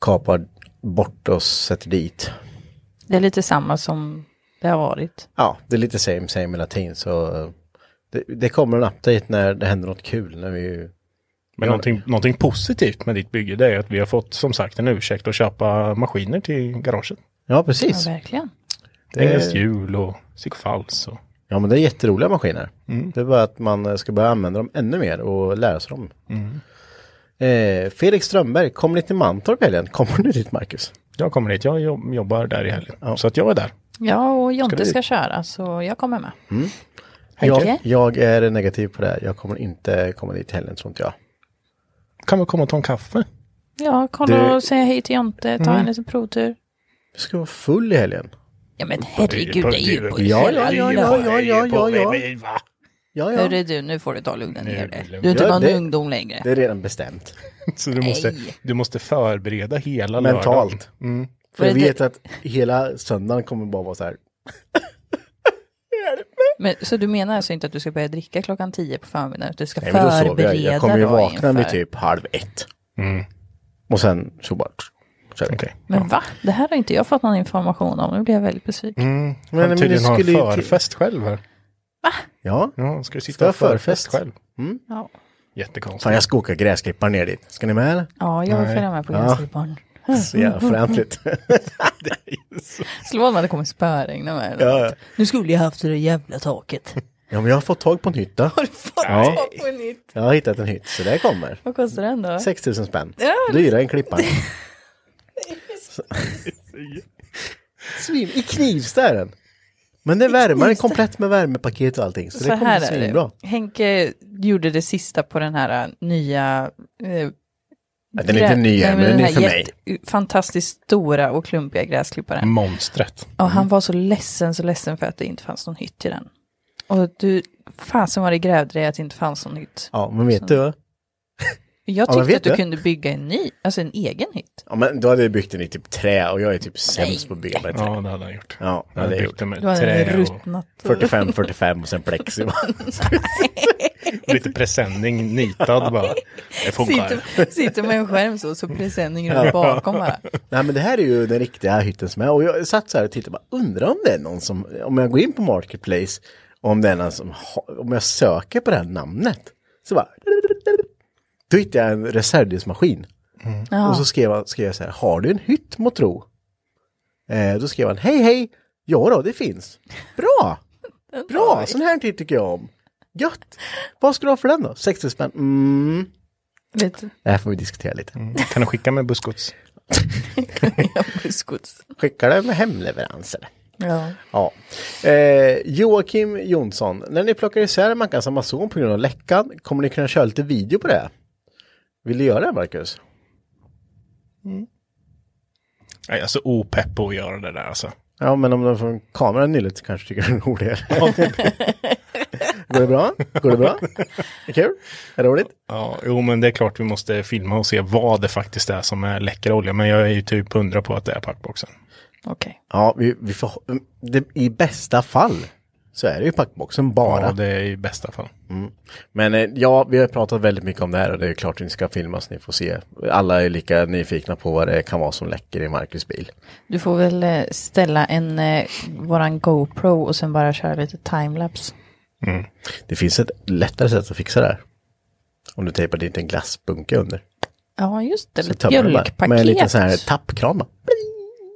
kapar bort och sätter dit. Det är lite samma som det har varit. Ja, det är lite same same i latin så eh, det, det kommer en update när det händer något kul. När vi, Men någonting, någonting positivt med ditt bygge det är att vi har fått som sagt en ursäkt att köpa maskiner till garaget. ja, Ja, precis. verkligen. Eh. Engelskt hjul och psykofals. Och... Ja, men det är jätteroliga maskiner. Det är bara att man eh, ska börja använda dem ännu mer och lära sig dem. Eh, Felix Strömberg, kommer ni till Mantorp i helgen? Kommer du dit, Marcus? Jag kommer dit, jag jobb- jobbar där i helgen. Så att jag är där. Ja, och Ska Jonte du- ska köra, så jag kommer med. Jag, Henke? jag är negativ på det. här. Jag kommer inte komma dit i helgen, tror inte jag. Kan vi komma och ta en kaffe? Ja, kolla Du- och säga hej till Jonte, Mm. ta en liten provtur. Du ska vara full i helgen. Ja, men herregud, det är ju på Ja, ja, ja, ja, ja, ja, ja, ja. Ja, ja. Hörru du, nu får du ta och lugna ner dig. lugn. Du är inte Ja, bara en det- ungdom längre. Det är redan bestämt. Så du måste, Nej. du måste förbereda hela lördagen. Mentalt. För jag Men det- vet att hela söndagen kommer bara vara så här. Men, så du menar alltså inte att du ska börja dricka klockan 10 på förmiddagen? Att du ska Nej, men då sover förbereda jag. Jag kommer ju dig vakna vid inför. typ halv ett. Och sen så bara... Så här. Okej. Men va? Det här har inte jag fått någon information om. Nu blir jag väldigt besviken. Mm. Men- men Men, du tydligen har en skulle ju till- förfest själv här. Ja. Ja, han ska ju sitta Ska jag och förfest förfest? själv. Ja, Jättekonstigt. Fan, jag ska åka gräsklippare ner dit. Ska ni med eller? ja jag vill följa med på gräsklipparen. Så jävla Mm. fräntligt. Slå om det kommer spöregna med eller Ja, ja. något. Nu skulle jag haft det där jävla taket. ja, men jag har fått tag på en hytta. Har du fått Ja. tag på en hytt? Jag har hittat en hytt, så det kommer. Vad kostar den då? 6 000 spänn. Ja. Dyrare än klippan. Svin, I Knivsta är den. Men den värmer, den är komplett med värmepaket och allting. Så, Så, det kommer här bli är det. svinbra. Henke gjorde det sista på den här äh, nya... Eh, Ja, den är inte ny än, men den är för mig. Fantastiskt stora och klumpiga gräsklipparen. Monstret. Och Mm. han var så ledsen, så ledsen för att det inte fanns någon hytt i den. Och du, fasen var det grävde dig att det inte fanns någon hytt. Ja, men vet du vad? Jag Ja, men tyckte vet att du du? kunde bygga en ny, alltså en egen hytt. Ja, men då hade jag byggt den i typ trä och jag är typ sämst på att bygga med trä. Ja, det hade han gjort. Ja, det han hade hade jag byggt den med Du hade en trä och ruttnat. 45, 45 och sen plexi. lite presenning nitad bara. Det funkar. Sitter, sitter med en skärm så, så presenningen runt bakom bara. Nej men det här är ju den riktiga hytten som är och jag satt så här och tittade bara undrar om det är någon som, om jag går in på Marketplace, om det är någon som, har- om jag söker på det här namnet. Så bara, då hittade jag en reservdelsmaskin. Och så skrev, han, skrev jag så här, har du en hytt må tro? Eh, då skrev han, hej hej, ja då det finns. Bra, bra, sån här tid tycker jag om. Gött! Vad ska du ha för den då? 60 spänn? Mm. Vet du, Det här får vi diskutera lite. Kan du skicka med bussgods? buskgods. Skickar det med hemleveranser. Ja. Ja. Eh, Joakim Jonsson, när ni plockar isär Mackan som Amazon på grund av läckan, kommer ni kunna köra lite video på det? Vill du göra det Marcus? Jag är så alltså, opepp på att göra det där alltså. Ja, men om de får kameran nyligt kanske tycker det är roligare. Går det bra? Går det bra? Är kul? Är det roligt? Ja, jo men det är klart vi måste filma och se vad det faktiskt är som är läcker olja. Men jag är ju typ hundra på att det är packboxen. Okej. Ja, vi, vi får, det, i bästa fall så är det ju packboxen bara. Ja, det är i bästa fall. Men eh, ja, vi har pratat väldigt mycket om det här och det är klart att ni ska filmas, ni får se. Alla är lika nyfikna på vad det kan vara som läcker i Marcus bil. Du får väl eh, ställa en, eh, våran GoPro och sen bara köra lite timelapse. Det finns ett lättare sätt att fixa det här. Om du tejpar dit en glassbunke under. Ja, just det. Ett tömmer den bara mjölkpaket. Med en liten sån här tappkran bara.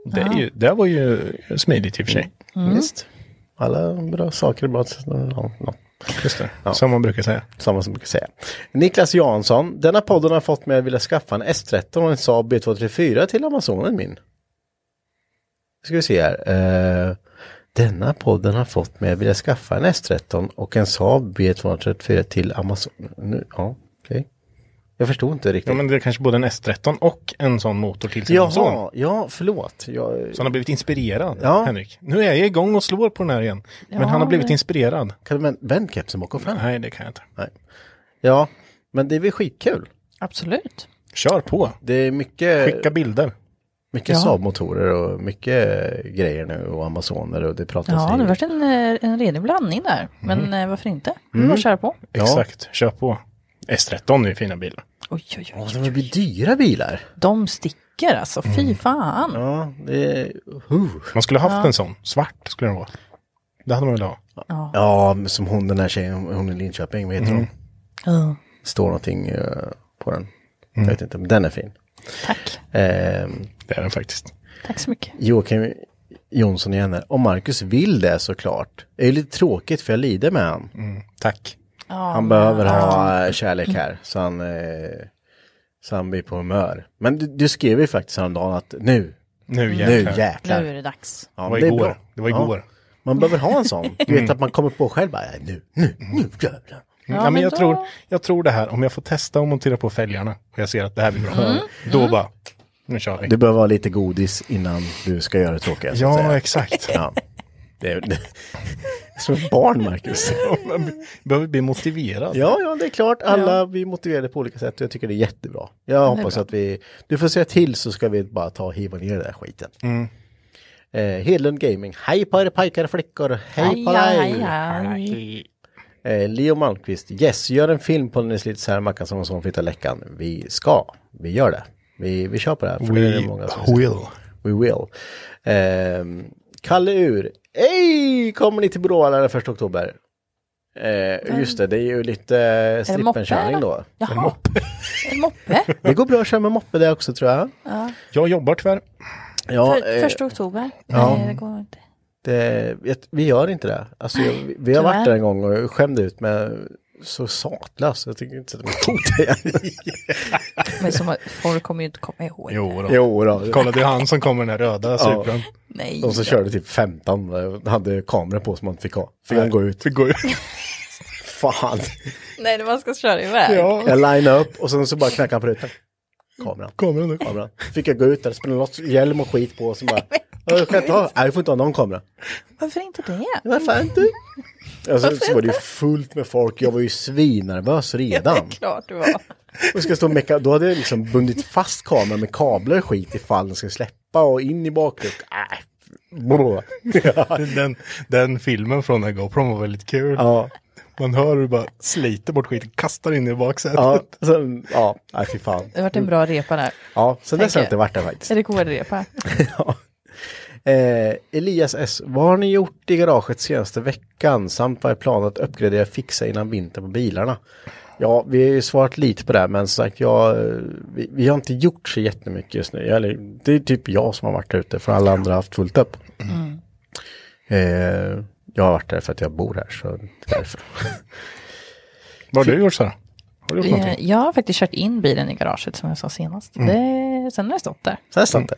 Det, är ju, det var ju smidigt i och för sig. Visst. Alla bra saker är bra. att- ja, ja. Just det, som man brukar säga. Samma som brukar säga. Niklas Jansson. Denna podden har fått mig att vilja skaffa en S13 och en Saab B234 till Amazonen min. Ska vi se här. Eh, denna podden har fått mig att vilja skaffa en S13 och en Saab B234 till Amazonen. Nu, ja, okej. Jag förstod inte riktigt. Ja, men det är kanske både en S13 och en sån motor till sin son. Jaha, ja förlåt. Jag, Så han har blivit inspirerad, Ja. Henrik. Nu är jag igång och slår på den här igen. men han har blivit inspirerad. kan du vänd- vänd kepsen bak och fram? Nej, det kan jag inte. Ja, men det är väl skitkul. Absolut. Kör på. Det är mycket, Skicka bilder. mycket Ja. Saab-motorer och mycket eh, grejer nu och Amazoner och det pratas Ja, ju- det varit en, eh, en redig blandning där. Men eh, varför inte? Mm. Bara köra på. Ja. Exakt, kör på. S13 är ju fina bilar. Oj, oj, Ja, oj. det blir dyra bilar. De sticker alltså. Fy fan. Ja, det är... huh. Man skulle haft en sån. Svart skulle den vara. Det hade man velat ha. Ja, men som hon den här tjejen, hon i Linköping, vad heter hon? Ja. Står någonting eh, på den. Jag vet inte, men den är fin. Tack. Ehm, Det är den faktiskt. Tack så mycket. Joakim Jonsson igen här. Om Marcus vill det såklart. Det är ju lite tråkigt för jag lider med han. Mm. Tack. Han behöver ha eh, kärlek här så han, eh, så han blir på humör. Men du, du skrev ju faktiskt häromdagen att nu, Nu nu jäklar. jäklar. Nu är det dags. Ja, Det var men är igår. bra. Det var Ja. igår. Mm. Man behöver ha en sån. Du vet att man kommer på själv bara, "Äh, nu, nu, nu jävlar. Ja, men jag, tror, jag tror det här, om jag får testa och montera på fälgarna och jag ser att det här blir bra, då bara, nu kör vi. Du behöver ha lite godis innan du ska göra det tråkiga. så att ja, säga. exakt. ja. Det är, det är som ett barn, Marcus. Behöver bli motiverad. Ja, ja, det är klart. Alla vi är motiverade på olika sätt och jag tycker det är jättebra. Jag hoppas att vi, du får säga till så ska vi bara ta och hiva ner den där skiten. Mm. Eh, Hedlund Gaming, hej på er pojkar och flickor, hej på dig! Eh, Leo Malmqvist, yes, gör en film på när ni sliter isär Mackan som en son flyttar läckan. Vi ska, vi gör det. Vi, vi kör på det här. för det är We det många som säger. will. We will. Ehm, Kalle Ur. Ej, kommer ni till Bråvalla den 1 oktober? Eh, just det, det är ju lite moppe, strippenkörning eller? då. Jaha. En Moppe? Det går bra att köra med moppe där också tror jag. Jag jobbar tyvärr. Ja, För, eh, första oktober? ja. Nej, det går inte. det, vet- vi gör inte det. Alltså, jag, vi har varit där en gång och jag skämde ut mig så satlös. Jag tycker inte sätta mig emot det igen. Men som, folk kommer ju inte komma ihåg. Jo då. jo då. Kolla, det är han som kommer den här röda supran. Nej. De som körde typ 15 eh, hade kamera på som man inte fick ha. Fick han gå ut? Vi går ju. Fan. Nej, det man ska köra iväg. Jag lineade upp och sen så bara knackade han på rutan. Kameran. Kameran då. kameran. Fick jag gå ut där, spela loss hjälm och skit på och så bara. "Ja, Jag kan inte ha, nej jag får inte ha någon kamera. Varför inte det? Varför inte? Alltså, så var det ju fullt med folk, jag var ju svinnervös Det redan. är klart det var. Och ska stå och mecka, då hade jag liksom bundit fast kameran med kablar och skit ifall den ska släppa och in i bakluckan. Äh, brå. Den, den filmen från den här GoPron var väldigt kul. Ja, Man hör hur du bara sliter bort skiten, kastar in i baksätet. ja, sen, ja, nej fy fan. Det vart en bra repa där. Ja, sen dess har jag Tänker- inte varit där faktiskt. Rekordrepa. Ja. Eh, Elias S. Vad har ni gjort i garaget senaste veckan? Samt vad är planen att uppgradera och fixa innan vintern på bilarna? Ja, vi har ju svarat lite på det här, men som sagt, jag, eh, vi, vi har inte gjort så jättemycket just nu. Eller, det är typ jag som har varit ute, för alla andra har haft fullt upp. Mm. Eh, jag har varit där för att jag bor här, så det är därför. Vad har du gjort Sara? Har du gjort Eh, någonting? Jag har faktiskt kört in bilen i garaget som jag sa senast. Det, sen har det stått där. Så här sant det.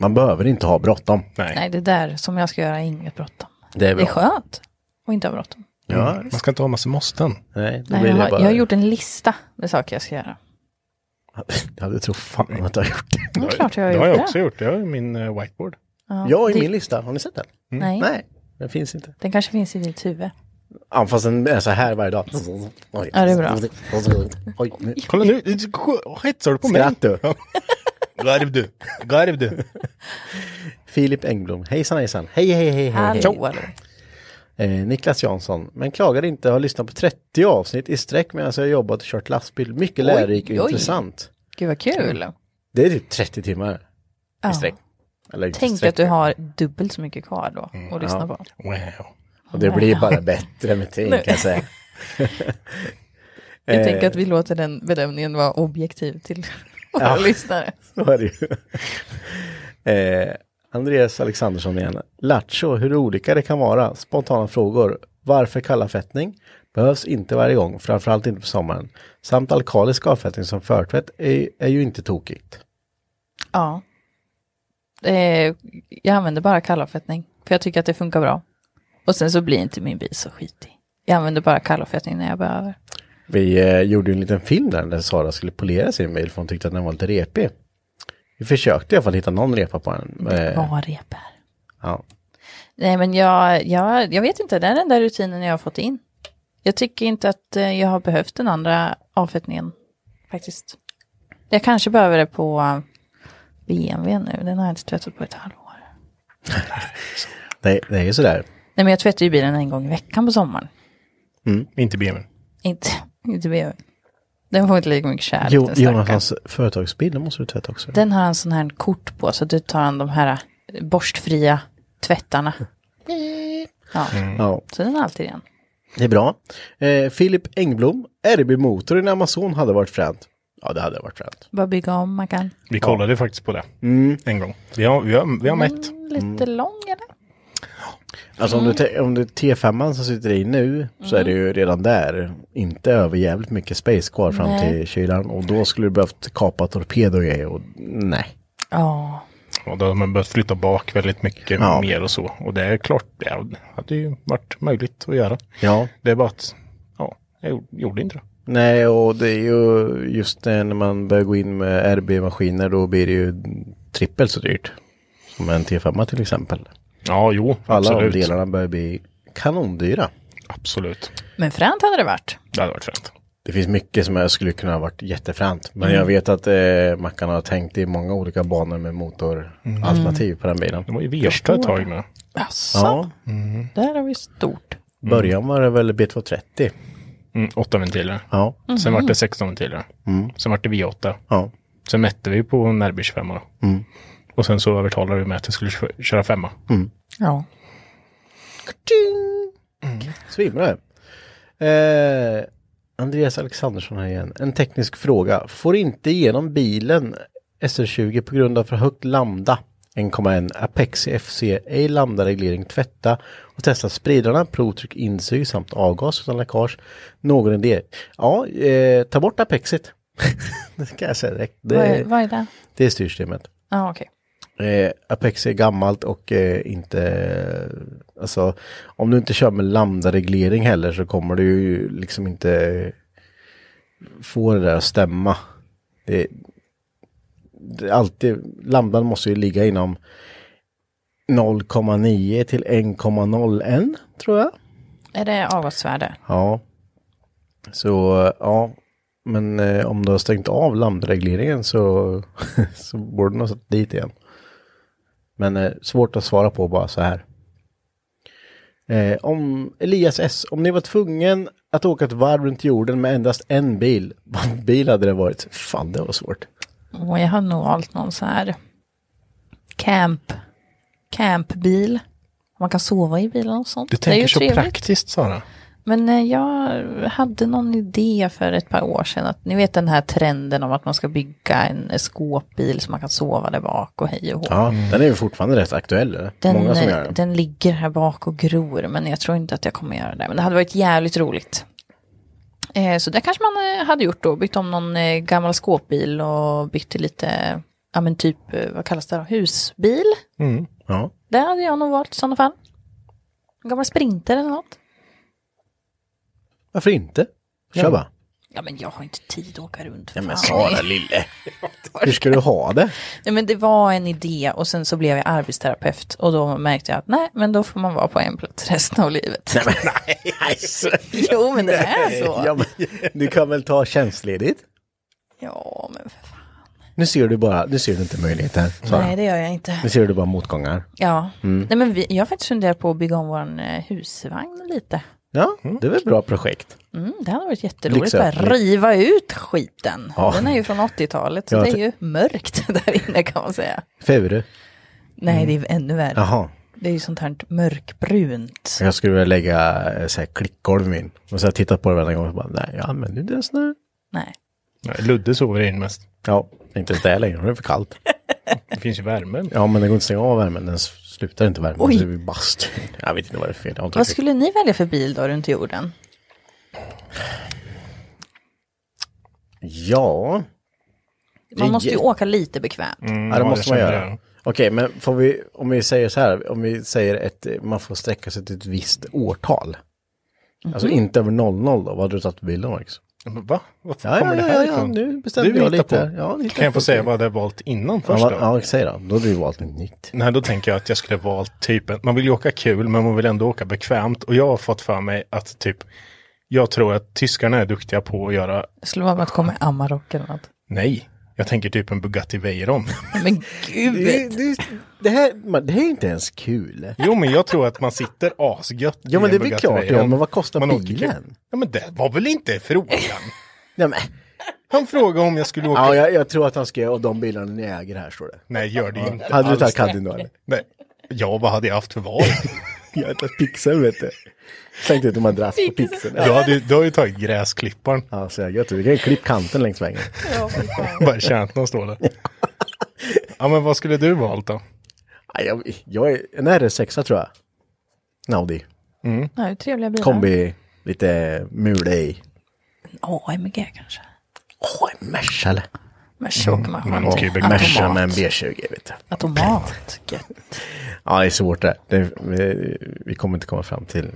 Man behöver inte ha bråttom. Nej, det där som jag ska göra är inget bråttom. Det är Det är bra. skönt att inte ha bråttom. Ja, Man ska inte ha massa måsten. nej, då Nej, blir jag, det har, bara... jag har gjort en lista med saker jag ska göra. Ja, det tror fan att jag har gjort det. Det är klart jag har Det gjort har det. jag också gjort. Jag har ju min eh, whiteboard. Ja, Jag i det- min lista, har ni sett den? Nej, Nej, den finns inte. den kanske finns i ditt huvud. Ja, fast den är så här varje dag. Oj. Ja, det är bra. Oj, nu. Kolla nu, det- hetsar du på mig? Skratt du. Garv du, garv du. Filip Engblom, hejsan hejsan. Hej hej hej hej. Hallå, hej. hallå. Eh, Niklas Jansson, men klagar inte, har lyssnat på 30 avsnitt i sträck medan jag jobbat och kört lastbil. Mycket lärorik och oj. intressant. Gud vad kul. Det är typ 30 timmar Ja. i sträck. Eller inte i Tänk sträck. att du har dubbelt så mycket kvar då att lyssna på. Wow. Och det blir bara bättre med tiden kan jag säga. Jag tänker att vi låter den bedömningen vara objektiv till våra Ja. lyssnare. Så är det ju. eh, Andreas Alexandersson igen. Lattjo, hur olika det kan vara. Spontana frågor. Varför kallafettning? Behövs inte varje gång, framförallt inte på sommaren. Samt alkalisk avfettning som förtvätt är, är ju inte tokigt. Ja. Eh, jag använder bara kallavfettning, för jag tycker att det funkar bra. Och sen så blir inte min bil så skitig. Jag använder bara kallavfettning när jag behöver. Vi eh, gjorde ju en liten film där, där Sara skulle polera sin bil för hon tyckte att den var lite repig. Vi försökte i alla fall hitta någon repa på den. Eh, Bara repar. ja. Nej men jag, jag, jag vet inte, det är den där rutinen jag har fått in. Jag tycker inte att eh, jag har behövt den andra avfettningen faktiskt. Jag kanske behöver det på eh, BMW nu, den har jag inte tvättat på ett halvår. det, det är ju sådär. Nej men jag tvättar ju bilen en gång i veckan på sommaren. Inte BMW. Inte, inte BMW. Den får inte lika mycket kärlek. Jo, den stackaren. Jonathans företagsbil, den måste du tvätta också. Den har en sån här kort på, så du tar han de här eh, borstfria tvättarna. Ja, Ja. så den är alltid igen. Det är bra. Eh, Filip Engblom, RB-motor i en Amazon hade varit fränt. Ja, det hade varit fränt. Bara bygga om man kan. Vi kollade faktiskt på det Mm. en gång. Vi har, vi har, vi har mätt. Lite lång eller? Alltså om, du te- om du T5 som sitter i nu så är det ju redan där inte över jävligt mycket space kvar fram Nej. till kylan och då skulle du behövt kapa torpedo och grejer och nej. Ja. Och då har man börjat flytta bak väldigt mycket Ja. mer och så. Och det är klart, det hade ju varit möjligt att göra. Ja, Det är bara att, ja, jag gjorde- gjorde inte det. nej och det är ju just det när man börjar gå in med RB-maskiner då blir det ju trippelt så dyrt. Som en T5 till exempel. Ja, jo, Alla absolut. de delarna börjar bli kanondyra. Absolut. Men fränt hade det varit. Det hade varit fränt. Det finns mycket som jag skulle kunna ha varit jättefränt. Men jag vet att eh, Mackan har tänkt i många olika banor med motoralternativ på den bilen. De var ju Versta ett tag med. Jaså, Mm. Ja, där har vi stort. början var det väl B230. Mm, åtta ventiler. Ja, Sen var det 16 ventiler. Sen var det V8. Mhm. Mm. ja. Mm. Sen mätte vi på en RB 25 då. Och sen så övertalade vi mig att jag skulle kö- köra femma. Ja. Mm, Svimmar du? Eh, Andreas Alexandersson här igen. En teknisk fråga. Får inte igenom bilen SR20 på grund av för högt lambda 1,1 Apex FC ej lambda-reglering tvätta och testa spridarna, provtryck, insug samt avgas utan läckage. Någon idé? Ja, eh, ta bort Apexet. det kan jag säga direkt. Vad är, Det, vad är det? det är styrsystemet. Ja, okej. Eh, Apex är gammalt och eh, inte, alltså om du inte kör med lambda-reglering heller så kommer du ju liksom inte få det där att stämma. Det, det är alltid, lambdan måste ju ligga inom 0,9 till 1,01 tror jag. Är det avgasvärde? Ja. Så eh, ja, men eh, om du har stängt av landregleringen så, så borde du nog sätta dit igen. Men eh, svårt att svara på bara så här. Eh, om Elias S, om ni var tvungen att åka ett varv runt jorden med endast en bil, vad bil hade det varit? Fan, det var svårt. Och jag har nog valt någon så här camp, campbil. Man kan sova i bilen och sånt. Du det är tänker ju så trevligt. praktiskt Sara. Men eh, jag hade någon idé för ett par år sedan. Att, ni vet den här trenden om att man ska bygga en skåpbil så man kan sova där bak och hej och hå. Ja, den är ju fortfarande rätt aktuell. eller? Den, Många som eh, gör den. den ligger här bak och gror, men jag tror inte att jag kommer göra det. Men det hade varit jävligt roligt. Eh, så det kanske man eh, hade gjort då, bytt om någon eh, gammal skåpbil och bytt till lite, ja men typ, eh, vad kallas det då, husbil. Ja. Det hade jag nog valt i sådana fall. En gammal sprinter eller något. Varför inte? Kör Ja. bara. Ja men jag har inte tid att åka runt. för Ja, men fan. Sara lille. Hur ska du ha det? Nej men det var en idé och sen så blev jag arbetsterapeut och då märkte jag att nej men då får man vara på en plats resten av livet. Nej, men nej. alltså. Jo men det är Ja, så. men, du kan väl ta tjänstledigt? Ja men för fan. Nu ser du bara, nu ser du inte möjligheter. Sara. Nej det gör jag inte. Nu ser du bara motgångar. Ja. Mm. Nej men vi, jag har faktiskt funderat på att bygga om vår eh, husvagn lite. Ja, Mm, det är väl ett bra projekt. Mm, det hade varit jätteroligt. Lyxöppning. Bara riva ut skiten. Ja. Den är ju från 80-talet så Ja, det är det- ju mörkt där inne kan man säga. Furu. Nej det är ju ännu värre. Mm. Jaha. Det är ju sånt här mörkbrunt. Jag skulle vilja lägga eh, så här klickgolv in. Och så har jag tittat på det varenda gång och så bara, nej, jag använder inte ens nu. Nej. Nej, Ludde sover in mest. Ja, inte ens det längre, det är för kallt. Det finns ju värme. Ja, men det går inte att stänga av värmen, den s- slutar inte värmen. Oj. Så det blir bast. Jag vet inte vad det är för fel. Jag har inte Vad riktigt- skulle ni välja för bil då runt jorden? Ja, Man Det- måste ju åka lite bekvämt. ja, det ja, måste det man känner göra. jag. Okej, men får vi, om vi säger så här, om vi säger ett, eh, man får sträcka sig till ett visst årtal. Alltså inte över 00 då, vad hade du tagit på bilden Marcus? Men Va? Var Ja, kommer ja, det ja, här ja, ifrån? nu bestämde Du jag hittar lite på. här. Ja, hittar kan jag få på. säga vad jag hade valt innan först ja, då? vad- ja, säg då. Då hade du valt något nytt. Nej, då tänker jag att jag skulle valt typen. Man vill ju åka kul, men man vill ändå åka bekvämt. Och jag har fått för mig att typ, jag tror att tyskarna är duktiga på att göra, Det skulle vara att komma i Amarok eller något. nej, jag tänker typ en Bugatti Veyron. Men gud! det, det, här, men det här är inte ens kul. Jo, men jag tror att man sitter asgött Ja, i men en det är väl Bugatti klart, Veyron. ja, men vad kostar Man åker bilen? kul. Ja, men det var väl inte frågan. Nej, men, Han frågade om jag skulle åka. ja, jag, jag tror att han ska och de bilarna ni äger här står det. Nej, gör det inte. Hade du alls. tagit Caddy då eller? Nej. Ja, vad hade jag haft för val? Jag hade tagit Pixen vet du. Slängt ut en madrass på Pixen. Du, hade, ju- du har ju tagit gräsklipparen. Ja, så jag gött. Du kan ju klippa kanten längs vägen. Bara kärnan står där. Ja, men vad skulle du valt då? Ja, jag, jag är en RS6 tror jag. En Audi. Ja, hur trevliga bilar. Kombi, lite mule i. AMG kanske. Åh, en Merca eller? Mm. Men så åker man man åker ju automat. bekvämt. Merca med en B20 vet du. Automat. Gött. Ja, det är svårt det. det vi, vi kommer inte komma fram till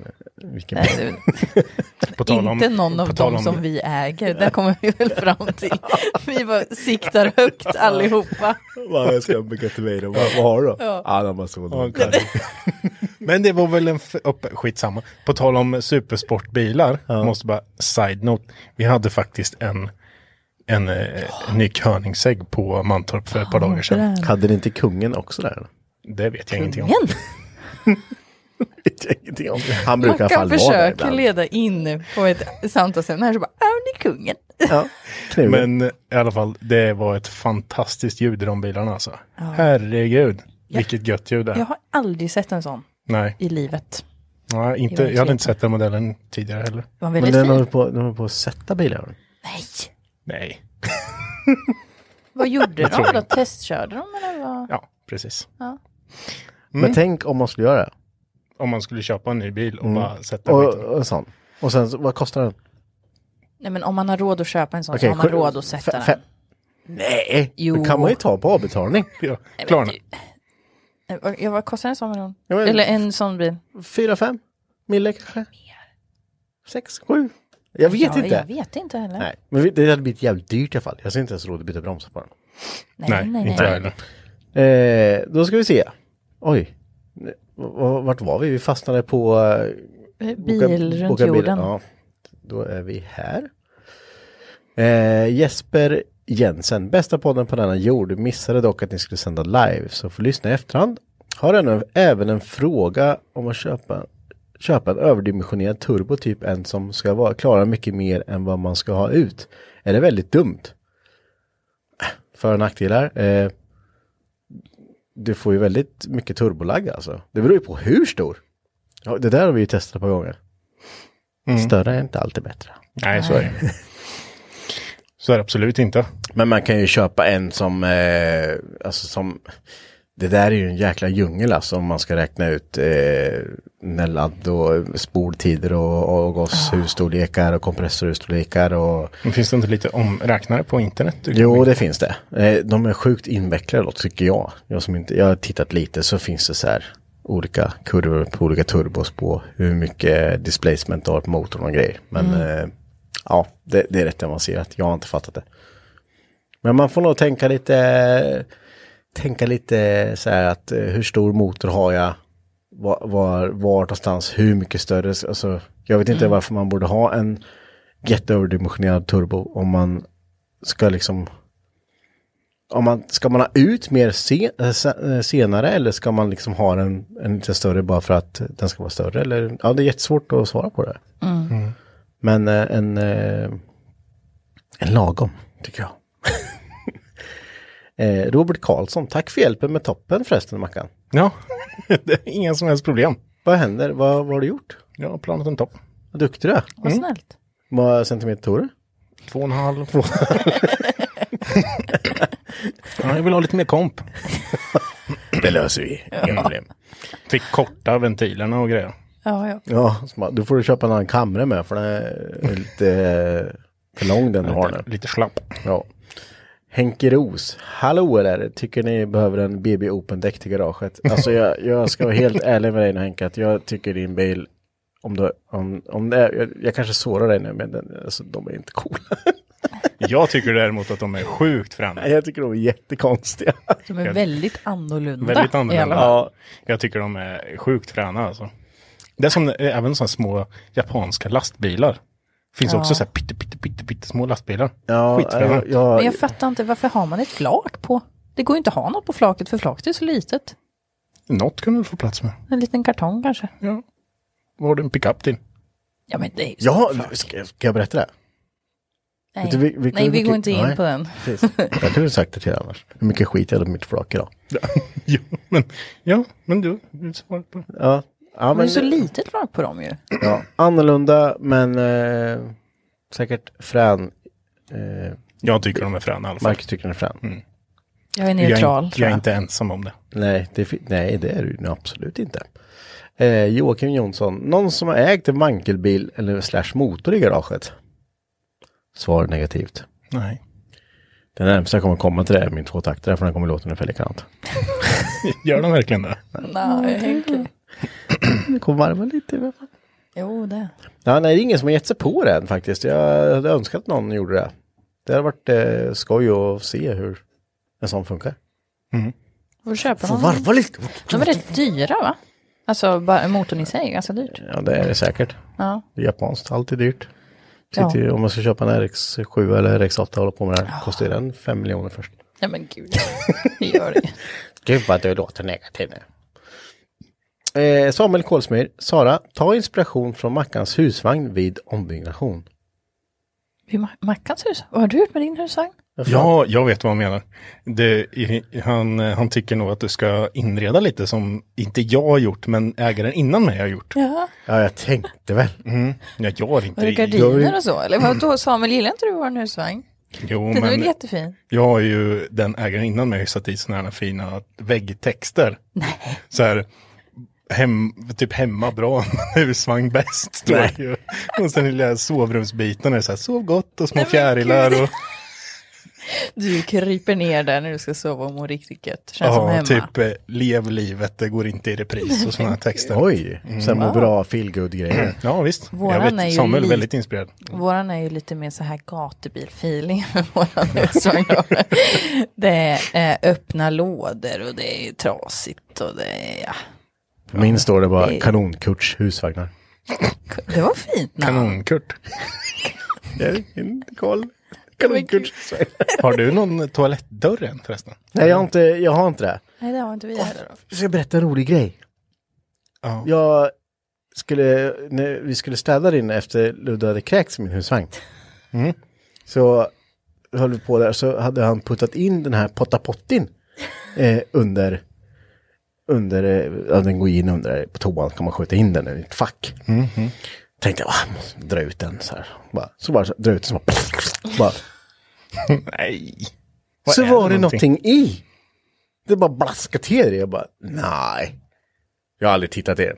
vilken Nej, det- På tal om- Alltså, Inte någon av på tal dem om- som vi äger. Där kommer vi väl fram till. Vi bara siktar högt allihopa. Vad jag ska bygga till mig då? Vad, vad har du då? Ja, ah, de har Ja, sådant. klart. Men det var väl en... F- upp, skitsamma. På tal om supersportbilar, måste bara side-note. Vi hade faktiskt en, en, eh, en ny Koenigsegg på Mantorp för ett par dagar sedan. Hade ni inte kungen också där? Det vet jag ingenting om. Igen. Vet jag ingenting om. Han brukar i Man alla fall kan vara försöka där ibland. leda in på ett samtalsämne här så bara, ja, det är kungen. Ja, kniven. Men eh, i alla fall, det var ett fantastiskt ljud i de bilarna alltså. Herregud, vilket gött ljud det är. Jag har aldrig sett en sån Nej, i livet. Nej, inte, jag hade inte sett den modellen tidigare heller. Det var Men väldigt den fin. håller på, den håller på att sätta bilar. Nej! Nej. Vad gjorde tror de då? jag. Testkörde de eller vad? Ja, precis. Mm. Men tänk om man skulle göra det. Om man skulle köpa en ny bil och bara sätta Mm. Och, och, och sån. Och sen, så- vad kostar den? Nej men om man har råd att köpa en sån Okej, så har man sju- råd att sätta fe- den. fe- Nej, Jo. det kan man ju ta på avbetalning. ja, Klarna. Eh, vad- Ja, vad kostar en sån miljon? Ja, men- Eller en sån bil? Fyra, fem mille kanske? Sex, sju? Jag vet ja, inte. Jag vet inte heller. Nej, men vi- det hade blivit jävligt dyrt i alla fall. Jag ser inte ens råd att byta bromsar på den. nej, Nej, inte jag heller. Eh, då ska vi se. Oj. V- v- Vart var vi? Vi fastnade på... eh, Eh, boka- Bil runt boka bil. jorden. Ja. Då är vi här. Eh, Jesper Jensen, bästa podden på denna jord. Missade dock att ni skulle sända live, så får lyssna i efterhand. Har ännu, även en fråga om att köpa, köpa en överdimensionerad turbo, typ en som ska vara, klara mycket mer än vad man ska ha ut. Är det väldigt dumt? För och nackdelar. Eh, du får ju väldigt mycket turbolagg alltså. Det beror ju på hur stor. Ja, det där har vi ju testat på gånger. Större är inte alltid bättre. Nej, så är det. Så är det absolut inte. Men man kan ju köpa en som, eh, alltså som, det där är ju en jäkla djungel alltså om man ska räkna ut eh, när ladd och spoltider och Ah. avgashusstorlekar och kompressorhusstorlekar och Men finns det inte lite omräknare på internet? Du kan Jo, ju- det finns det. Eh, De är sjukt invecklade då, tycker jag. Jag, som inte, jag har tittat lite så finns det så här olika kurvor på olika turbos på hur mycket displacement du har på motorn och grejer. Men eh, ja, det, det är rätt avancerat. Jag har inte fattat det. Men man får nog tänka lite, tänka lite så här att eh, hur stor motor har jag? Var, var, var någonstans? Hur mycket större? Alltså, jag vet inte varför man borde ha en jätteöverdimensionerad turbo om man ska liksom... Om man, ska man ha ut mer se, eh, se, eh, senare eller ska man liksom ha den en lite större bara för att den ska vara större? Eller, ja, det är jättesvårt att svara på det. Mm. Men eh, en, eh, en lagom, tycker jag. Eh, Robert Karlsson, tack för hjälpen med toppen förresten Mackan. Ja, det är inga som helst problem. Vad händer? Vad, vad har du gjort? Jag har planat en topp. Vad duktig du är. Vad snällt. Vad centimeter tog du? Två och en halv. ja, jag vill ha lite mer komp. Det löser vi. Inga problem. Fick korta ventilerna och grejer. Ja, ja. Ja, så bara, då får du köpa en annan kamera med för den är lite eh, för lång den du har nu. Lite, lite slapp. Ja. Henke Ros, hallå eller? Tycker ni behöver en BB Open däck till garaget? Alltså jag, jag ska vara helt ärlig med dig nu Henke, att jag tycker din bil, om du, om, om det är, jag, jag kanske sårar dig nu, men den, alltså, de är inte coola. Jag tycker däremot att de är sjukt fräna. jag tycker de är jättekonstiga. De är väldigt annorlunda. Väldigt i alla annorlunda. fall. Ja. Jag tycker de är sjukt fräna alltså. Det är som eh, även sådana små japanska lastbilar. Finns också så här pytte, pytte, pytte, pytte små lastbilar. Ja, Skitfräna. jag, jag, Men jag fattar inte, varför har man ett flak på? Det går ju inte att ha något på flaket, för flaket är så litet. Något kan du få plats med. En liten kartong kanske. Ja. Vad har du en pickup till? Ja, men det är ju så- ja ska, ska jag berätta det? Nej, Vet du, vi- vi- nej vi vi- går inte in nej. på den. Precis. Jag kunde sagt det till dig annars. Hur mycket skit jag hade på mitt flak idag. ja, men, ja, men du, du svarar på det. Ja, ja Men det är så litet flak på dem ju. Ja, annorlunda men eh, säkert frän. Eh, Jag tycker de är fräna i alla fall. Marcus tycker den är frän. Jag är Jag är, neutral. in- tror jag är inte ensam om det. Nej, det, fi- nej, det är du ju absolut inte. Eh, Joakim Jonsson, någon som har ägt en vankelbil eller slash motor i garaget? Svar negativt. Nej. Det närmsta jag kommer komma till det är min tvåtaktare för den kommer låta ungefär likadant. Gör de verkligen det? Nej, Henke. Det kommer varva lite i alla fall. Jo, det. Ja, nej, det är ingen som har gett sig på den faktiskt. Jag hade önskat att någon gjorde det. Det hade varit eh, skoj att se hur en sån funkar. Får du köpa Får någon? varva lite. De är rätt dyra va? Alltså bara motorn i sig är ganska dyrt. Ja, det är det säkert. Ja. Det är japanskt, allt är dyrt. Ja. Sitter ju- Om man ska köpa en RX7 eller RX8 och hålla på med det här, kostar ju den 5 miljoner först. Nej men gud, det gör det Gud vad du låter negativ nu. Eh, Samuel Kolsmyr, Sara, ta inspiration från Mackans husvagn vid ombyggnation. Vid Ma- Mackans hus? Vad har du gjort med din husvagn? Varför? Ja, jag vet vad han menar. Det, i- han, eh, han tycker nog att du ska inreda lite som inte jag har gjort, men ägaren innan mig har gjort. Ja, Ja, jag tänkte väl. Mm. Ja, jag har var det inte jag vill- gardiner och så? Eller vadå, Samuel, gillar inte du vår husvagn? Jo, Den är väl men jättefin? jag har ju den ägaren innan mig har ju satt i sådana här fina väggtexter. Så här, hem, typ hemma bra, husvagn bäst. Står det ju. Och sen lilla sovrumsbiten är det så här, sov gott och små Nej, men fjärilar gud. och Du kryper ner där när du ska sova och må riktigt gött. Känns som ja, hemma. typ eh, lev livet, det går inte i repris och sådana här texter. Oj, så här må bra feelgood-grejer. Ja visst, Våran jag är vet, ju Samuel är lite- väldigt inspirerad. Våran är ju lite mer så här gatubil-feeling med våran husvagn. då. det är eh, öppna lådor och det är trasigt och det är, ja. På min står det bara kanonkurts husvagnar. Det var fint namn. Kanonkurt. Karl. Kanonkurts Har du någon toalettdörr än förresten? Nej, jag har inte, jag har inte det. Nej, det var inte vi heller då. Jag ska berätta en rolig grej. Ja. Jag skulle, när vi skulle städa in efter Ludde hade kräkts i min husvagn. Så höll vi på där, så hade han puttat in den här pottapottin eh, under, under, eh, ja, den går in under, på toan kan man skjuta in den i ett fack. Tänkte jag, "Ah, jag måste dra ut den så här. Bara, så bara så, dra ut den så bara, bara Nej. så var det någonting i. Det bara blaskade till det. Jag bara, nej. Jag har aldrig tittat i den.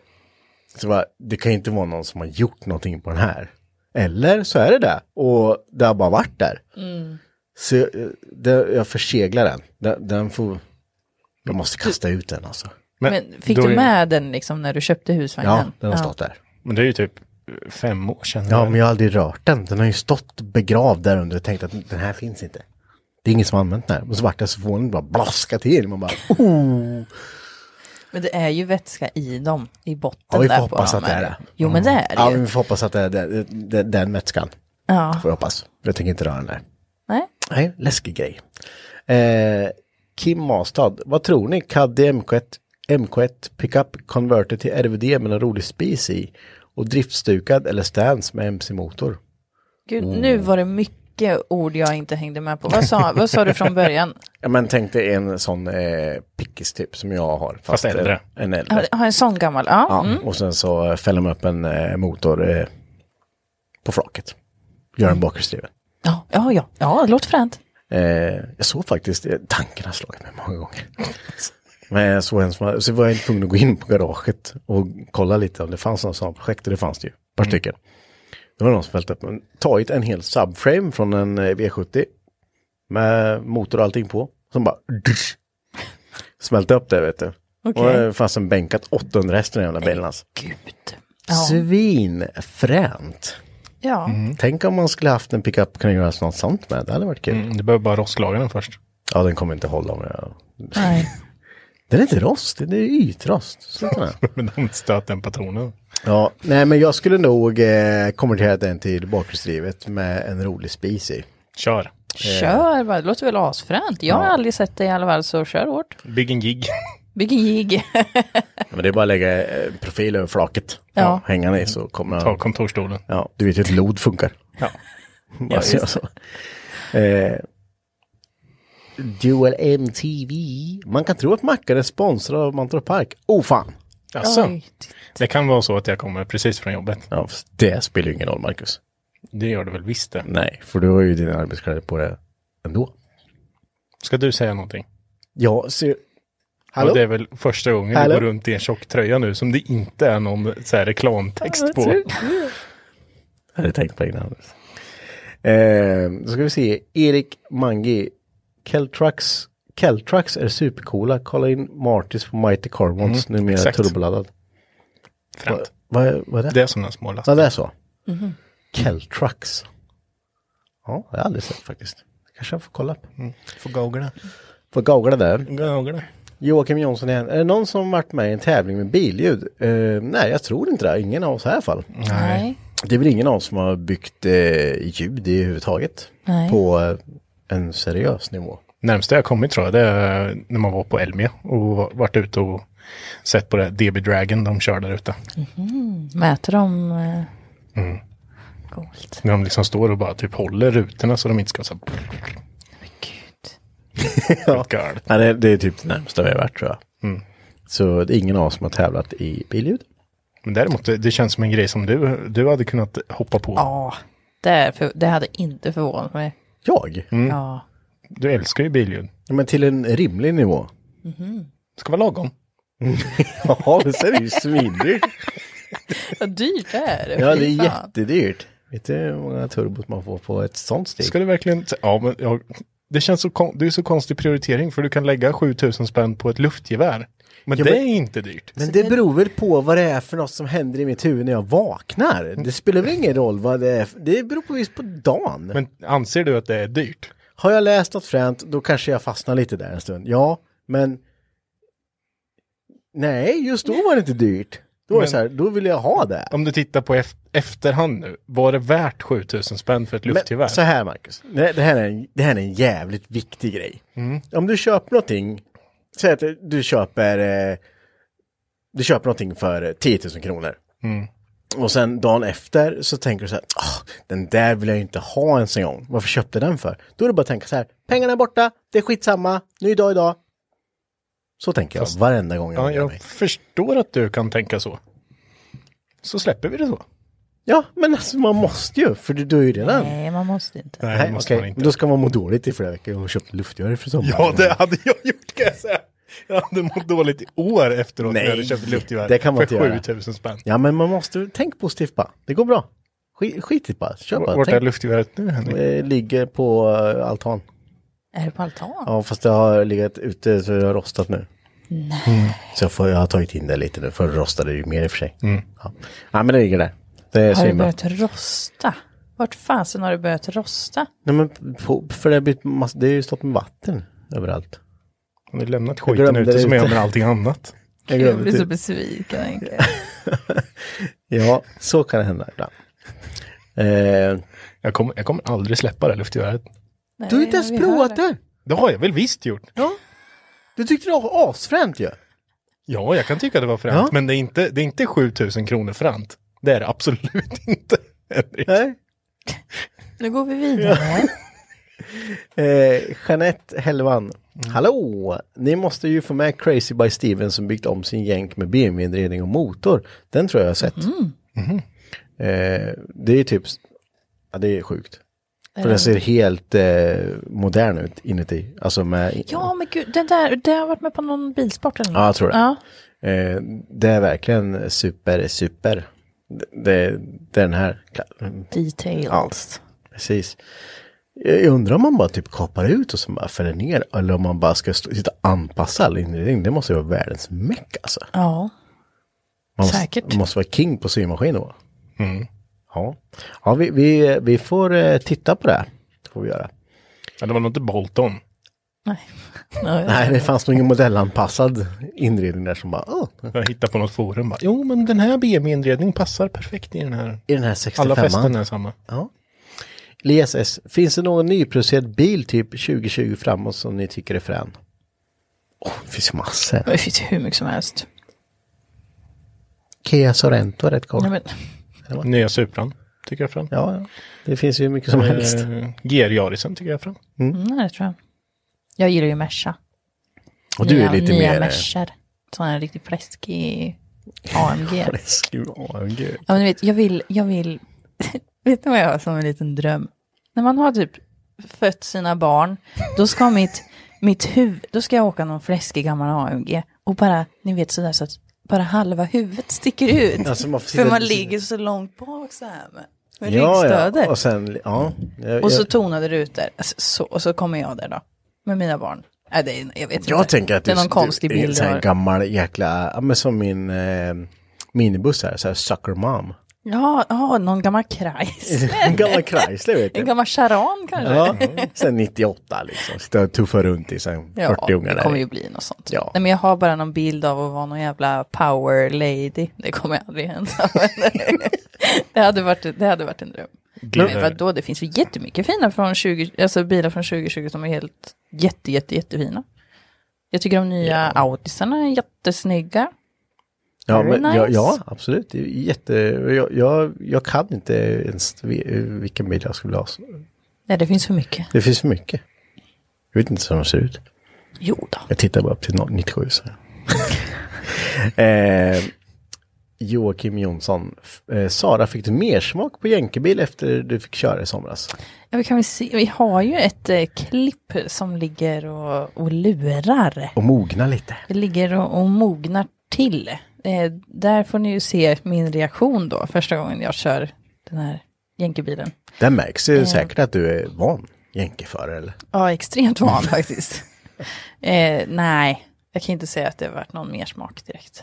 Så bara, det kan ju inte vara någon som har gjort någonting på den här. Eller så är det det. Och det har bara varit där. Så eh, det, jag förseglar den. den. Den får... Jag måste kasta ut den alltså. Men fick då du är- med den liksom när du köpte Ja, husvagnen? den har stått där. Men det är ju typ eh, fem år sedan. Ja, eller? men jag har aldrig rört den. Den har ju stått begravd där under och tänkt att den här finns inte. Det är ingen som har använt den här. Och så vart jag så förvånad. Bara blaska till. Man bara, Men det är ju vätska i dem, i botten Ja, vi får där på hoppas dem. att det är eller? det. Mm. Jo, men det är Ja, det ju. men vi får hoppas att det är den, den, den vätskan. Ja. Får jag hoppas. Jag tänker inte röra den där. Nej. Nej, läskig grej. Eh, Kim Mastad, vad tror ni? Caddy MK1, MK1 pickup converter till RVD med en rolig spis i och driftstukad eller stance med MC-motor. Gud, Mm. nu var det mycket ord jag inte hängde med på. Vad sa, vad sa du från början? Ja, men tänk dig en sån eh, pickis typ som jag har. Fast, eh, äldre. En, en äldre. Har- Har en sån gammal? Ja. Ja, Och sen så fäller man upp en eh, motor eh, på flaket. Gör en bakhjulsdriven. Ja, ja, ja. ja det låter fränt. Eh, jag såg faktiskt, eh, tanken har slagit mig många gånger. Men jag såg en som, hade- så var jag tvungen att gå in på garaget och kolla lite om det fanns några sådana projekt. Och det fanns det ju, Mm. ett par stycken. Det var någon som fällt upp, en- tagit en hel subframe från en eh, V70. Med motor och allting på. Som bara dusch, smälte upp det vet du. Okej. Och det fanns en bänkat 800 häst i den jävla bilen alltså. Gud. Ja. Svinfränt. Ja. Tänk om man skulle haft en pickup kunna göra något sånt med. Det hade varit kul. Mm, Du behöver bara rostlaga den först. Ja, den kommer inte hålla om jag Eh. Nej. Den är inte rost, den är ytrost. Sluta med det. Men de stöt den patronen. Ja, nej men jag skulle nog eh, konvertera den till bakhjulsdrivet med en rolig spis i. Kör. Kör bara, det låter väl asfränt. Jag har aldrig sett det i alla fall, så kör hårt. Bygg en gig. Bygg en jigg. Men det är bara att lägga eh, profil över flaket. Ja. Hänga i så kommer Ta han. kontorstolen. Ja, du vet ju hur ett lod funkar. Ja. Bara säga så. Eh, Dual MTV. Man kan tro att Mackan är sponsrad av Mantorp Park. Oh fan! Alltså, Oj, det kan vara så att jag kommer precis från jobbet. Ja, fast det spelar ju ingen roll Marcus. Det gör det väl visst det. Nej, för du har ju dina arbetskläder på dig ändå. Ska du säga någonting? Ja, så... Och det är väl första gången Hallå? du går runt i en tjock tröja nu som det inte är någon så här reklamtext på. Jag hade tänkt på egna Anders. Eh, då ska vi se. Erik Mangi. Keltrucks. Keltrucks är supercoola. Kolla in Martis på Mighty Carbons. numera exakt. turboladdad. Främt. Vad är vad är det? Det är som den små Ja, lasten. det är så. Keltrucks. Ja, det har jag aldrig sett faktiskt. Kanske jag får kolla upp. Får googla. Får googla där. Googla. Joakim Jonsson igen. Är det någon som varit med i en tävling med billjud? Eh, nej, jag tror inte det. Ingen av oss i alla fall. Nej. Det är väl ingen av oss som har byggt eh, ljud i huvud taget Nej. på eh, en seriös nivå. Närmsta jag kommit tror jag, det är när man var på Elmia och var- varit ute och sett på det här DB Dragon de kör där ute. Mäter de... Mm. Coolt. När de liksom står och bara typ håller rutorna så de inte ska så här, ja. Girl. Ja, det, det är typ det närmsta vi har varit tror jag. Så det är ingen av oss som har tävlat i billjud. Men däremot, det, det känns som en grej som du, du hade kunnat hoppa på. Ja, det, är för, det hade inte förvånat mig. Jag? Ja. Du älskar ju billjud. Ja, Men till en rimlig nivå. Det ska vara lagom. Ja, men sen är det ju svindyrt. Vad dyrt det är. Ja, det Fy är fan. jättedyrt. Vet du hur många turbot man får på ett sånt steg? Ska du verkligen... Ja, men ja, det känns så, kon- det är så konstig prioritering för du kan lägga 7000 spänn på ett luftgevär. Men Ja, det men- är inte dyrt. Men det beror väl på vad det är för något som händer i mitt huvud när jag vaknar. Det spelar väl ingen roll vad det är. för- Det beror på visst på dagen. Men anser du att det är dyrt? Har jag läst något fränt, då kanske jag fastnar lite där en stund. Ja, men... Nej, just då var det inte dyrt. Då var det Men- så här, då ville jag ha det. Om du tittar på ef- efterhand nu, var det värt 7000 spänn för ett luftgevär? Men, så här Marcus, det, det, här är en, det här är en jävligt viktig grej. Mm. Om du köper någonting, säg att du köper, eh, du köper någonting för eh, 10 000 kronor. Mm. Och sen dagen efter så tänker du så här, "Ah, den där vill jag ju inte ha ens en gång. Varför köpte jag den för? Då är det bara att tänka så här, pengarna är borta, det är skitsamma, ny dag idag. Så tänker jag varenda gång jag ja, ångrar jag mig. förstår att du kan tänka så. Så släpper vi det så. Ja, men alltså man måste ju, för du dör ju redan. Nej, man måste inte. Nej, Nej, det måste okej. man inte. Då ska man må dåligt i flera veckor och köpa luftgörare för sommaren. Ja, det hade jag gjort kan jag säga. Jag hade mått dåligt i år efteråt när jag hade Nej, köpt ett luftgevär. det kan man för inte göra. 7000 spänn. Ja, men man måste, tänk positivt bara. Det går bra. Skit, skitigt bara. Kör bara. Vart är tänk, luftgeväret nu Henrik? eh, ligger på eh, altan. Är det på altan? Ja, fast det har legat ute så det har rostat nu. Nej. Så jag, får, jag har tagit in det lite nu, för det rostade ju mer i och för sig. Ja. ja, men det ligger där. Det är har det svinbra. börjat rosta? Vart fasen har det börjat rosta? Nej, men på, för det har, blivit massa, det har ju stått med vatten överallt. Har ni lämnat skiten glömde ute det som jag gör ute. med allting annat? Jag Jag glömde blir så typ. besviken. Henke. Ja, så kan det hända ibland. Eh, Jag kommer, jag kommer aldrig släppa det här luftgeväret. Nej, du har inte ens vi hör provat det. det. Det har jag väl visst gjort. Ja. Du tyckte det var asfränt ju. Ja, jag kan tycka det var fränt. Ja. Men det är inte, det är inte 7000 kronor fränt. Det är det absolut inte. Henrik. Nej. Nu går vi vidare. Eh, Jeanette Hellvan. Hallå! Ni måste ju få med Crazy by Steven som byggt om sin jänk med BMW-inredning och motor. Den tror jag jag har sett. Mm. Eh, det är typ, ja det är sjukt. För den ser helt eh, modern ut inuti. Alltså med, Ja, men gud, den där, det har varit med på någon bilsport eller Ja, något. jag tror det. Ja. Eh, det är verkligen super, super. Det, det, det är den här Details. Precis. Jag jag undrar om man bara typ kapar ut och så bara fäller ner eller om man bara ska stå, sitta och anpassa all inredning. Det måste ju vara världens meck alltså. Ja. Man måste, Säkert. Man måste vara king på symaskiner va? Ja, ja vi, vi, vi får eh, titta på det. här. Det får vi göra. Ja, det var nog inte Bolton. Nej. Nej. Nej, det fanns nog ingen modellanpassad inredning där som bara, åh, Jag hittade på något forum bara. Jo, men den här BMW-inredning passar perfekt i den här. i den här 65an. Alla fästen är samma. Elias S, finns det någon nyproducerad bil typ 2020 framåt som ni tycker är frän? Åh, det finns ju massor. Det finns ju hur mycket som helst. Kia Sorento är rätt cool. Nej, men, Nya Supran tycker jag fram. Ja, ja. det finns ju hur mycket som helst. Eh, GR-Jarisen tycker jag fram. Mm, nej, det tror jag. Jag gillar ju Merca. Och du nya, är lite nya mer... eh, Mercar. Sån här riktigt fläskig AMG. Skru- AMG. Ja, men du vet, jag vill, jag vill, vet ni vad jag har som en liten dröm? När man har typ fött sina barn, då ska mitt, mitt huvud, då ska jag åka någon fläskig gammal AMG och bara, ni vet sådär så att bara halva huvudet sticker ut. Alltså, man får sitta- för man ligger så långt bak så här med, med Ja, ryggstödet. ja. Och sen, ja. Jag, och så jag, tonade rutor. Alltså, så, och så kommer jag där då, med mina barn. Äh, det är, jag vet jag inte. tänker att det är någon konstig det är en bild. sån jag här har. gammal jäkla, ja men som min eh, minibuss här, så här sucker mom. Ja, ja, någon gammal Kreis. En gammal Chrysler vet En du. gammal Charan kanske. Ja, sen 98 liksom. Sitta och tuffa runt i sen 40 ungar det kommer ju där. bli något sånt. Ja. Nej, men jag har bara någon bild av att vara någon jävla power lady. Det kommer aldrig hända. men det, hade varit, det hade varit en dröm. Men vadå, det finns ju jättemycket fina från 20, alltså bilar från 2020 som är helt jätte, jätte, jättefina. Jag tycker de nya Audisarna är jättesnygga. Ja, Very men, ja, nice. ja, absolut. Det är ju jätte, jag, jag, jag kan inte ens vi- vilken bil jag skulle ha. Nej, det finns för mycket. Det finns för mycket. Jag vet inte hur de ser ut. Jo då. Jag tittar bara upp till 97. Så. eh, Joakim Jonsson. F- Eh, Sara, fick du mer smak på jänkebil efter du fick köra i somras? Ja, vi, kan väl se. vi har ju ett eh, klipp som ligger och, och lurar. Och mogna lite. Det ligger och, och mognar till. Eh, där får ni ju se min reaktion då, första gången jag kör den här jänkebilen. Det märks ju säkert att du är van jänkeförare. Eller? Ja, extremt van faktiskt. eh, nej, jag kan inte säga att det har varit någon mer smak direkt.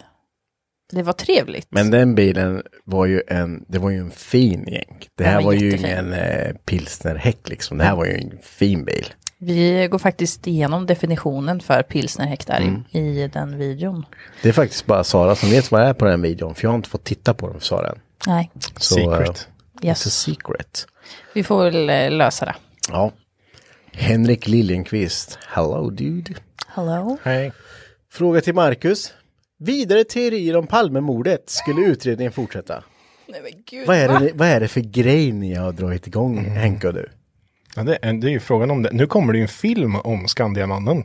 Det var trevligt. Men den bilen var ju en, det var ju en fin jänk. Det här Den var, var ju jättefin. ingen eh, pilsnerhäck liksom. Det här var ju en fin bil. Vi går faktiskt igenom definitionen för pilsnerhäck där Mm. i- i den videon. Det är faktiskt bara Sara som vet vad det är på den videon. För jag har inte fått titta på den för Sara än. Nej, Så, Secret. Eh, yes. it's a secret. vi får väl eh, lösa det. Ja. Henrik Liljenqvist. Hello dude. Hello? Nej. Fråga till Marcus. Vidare teorier om Palmemordet. Skulle utredningen fortsätta? Nej men gud. Vad är det, ni- vad är det för grej ni har dragit igång Mm. Henke och du? Ja, det, är, det är ju frågan om det. Nu kommer det ju en film om Skandiamannen.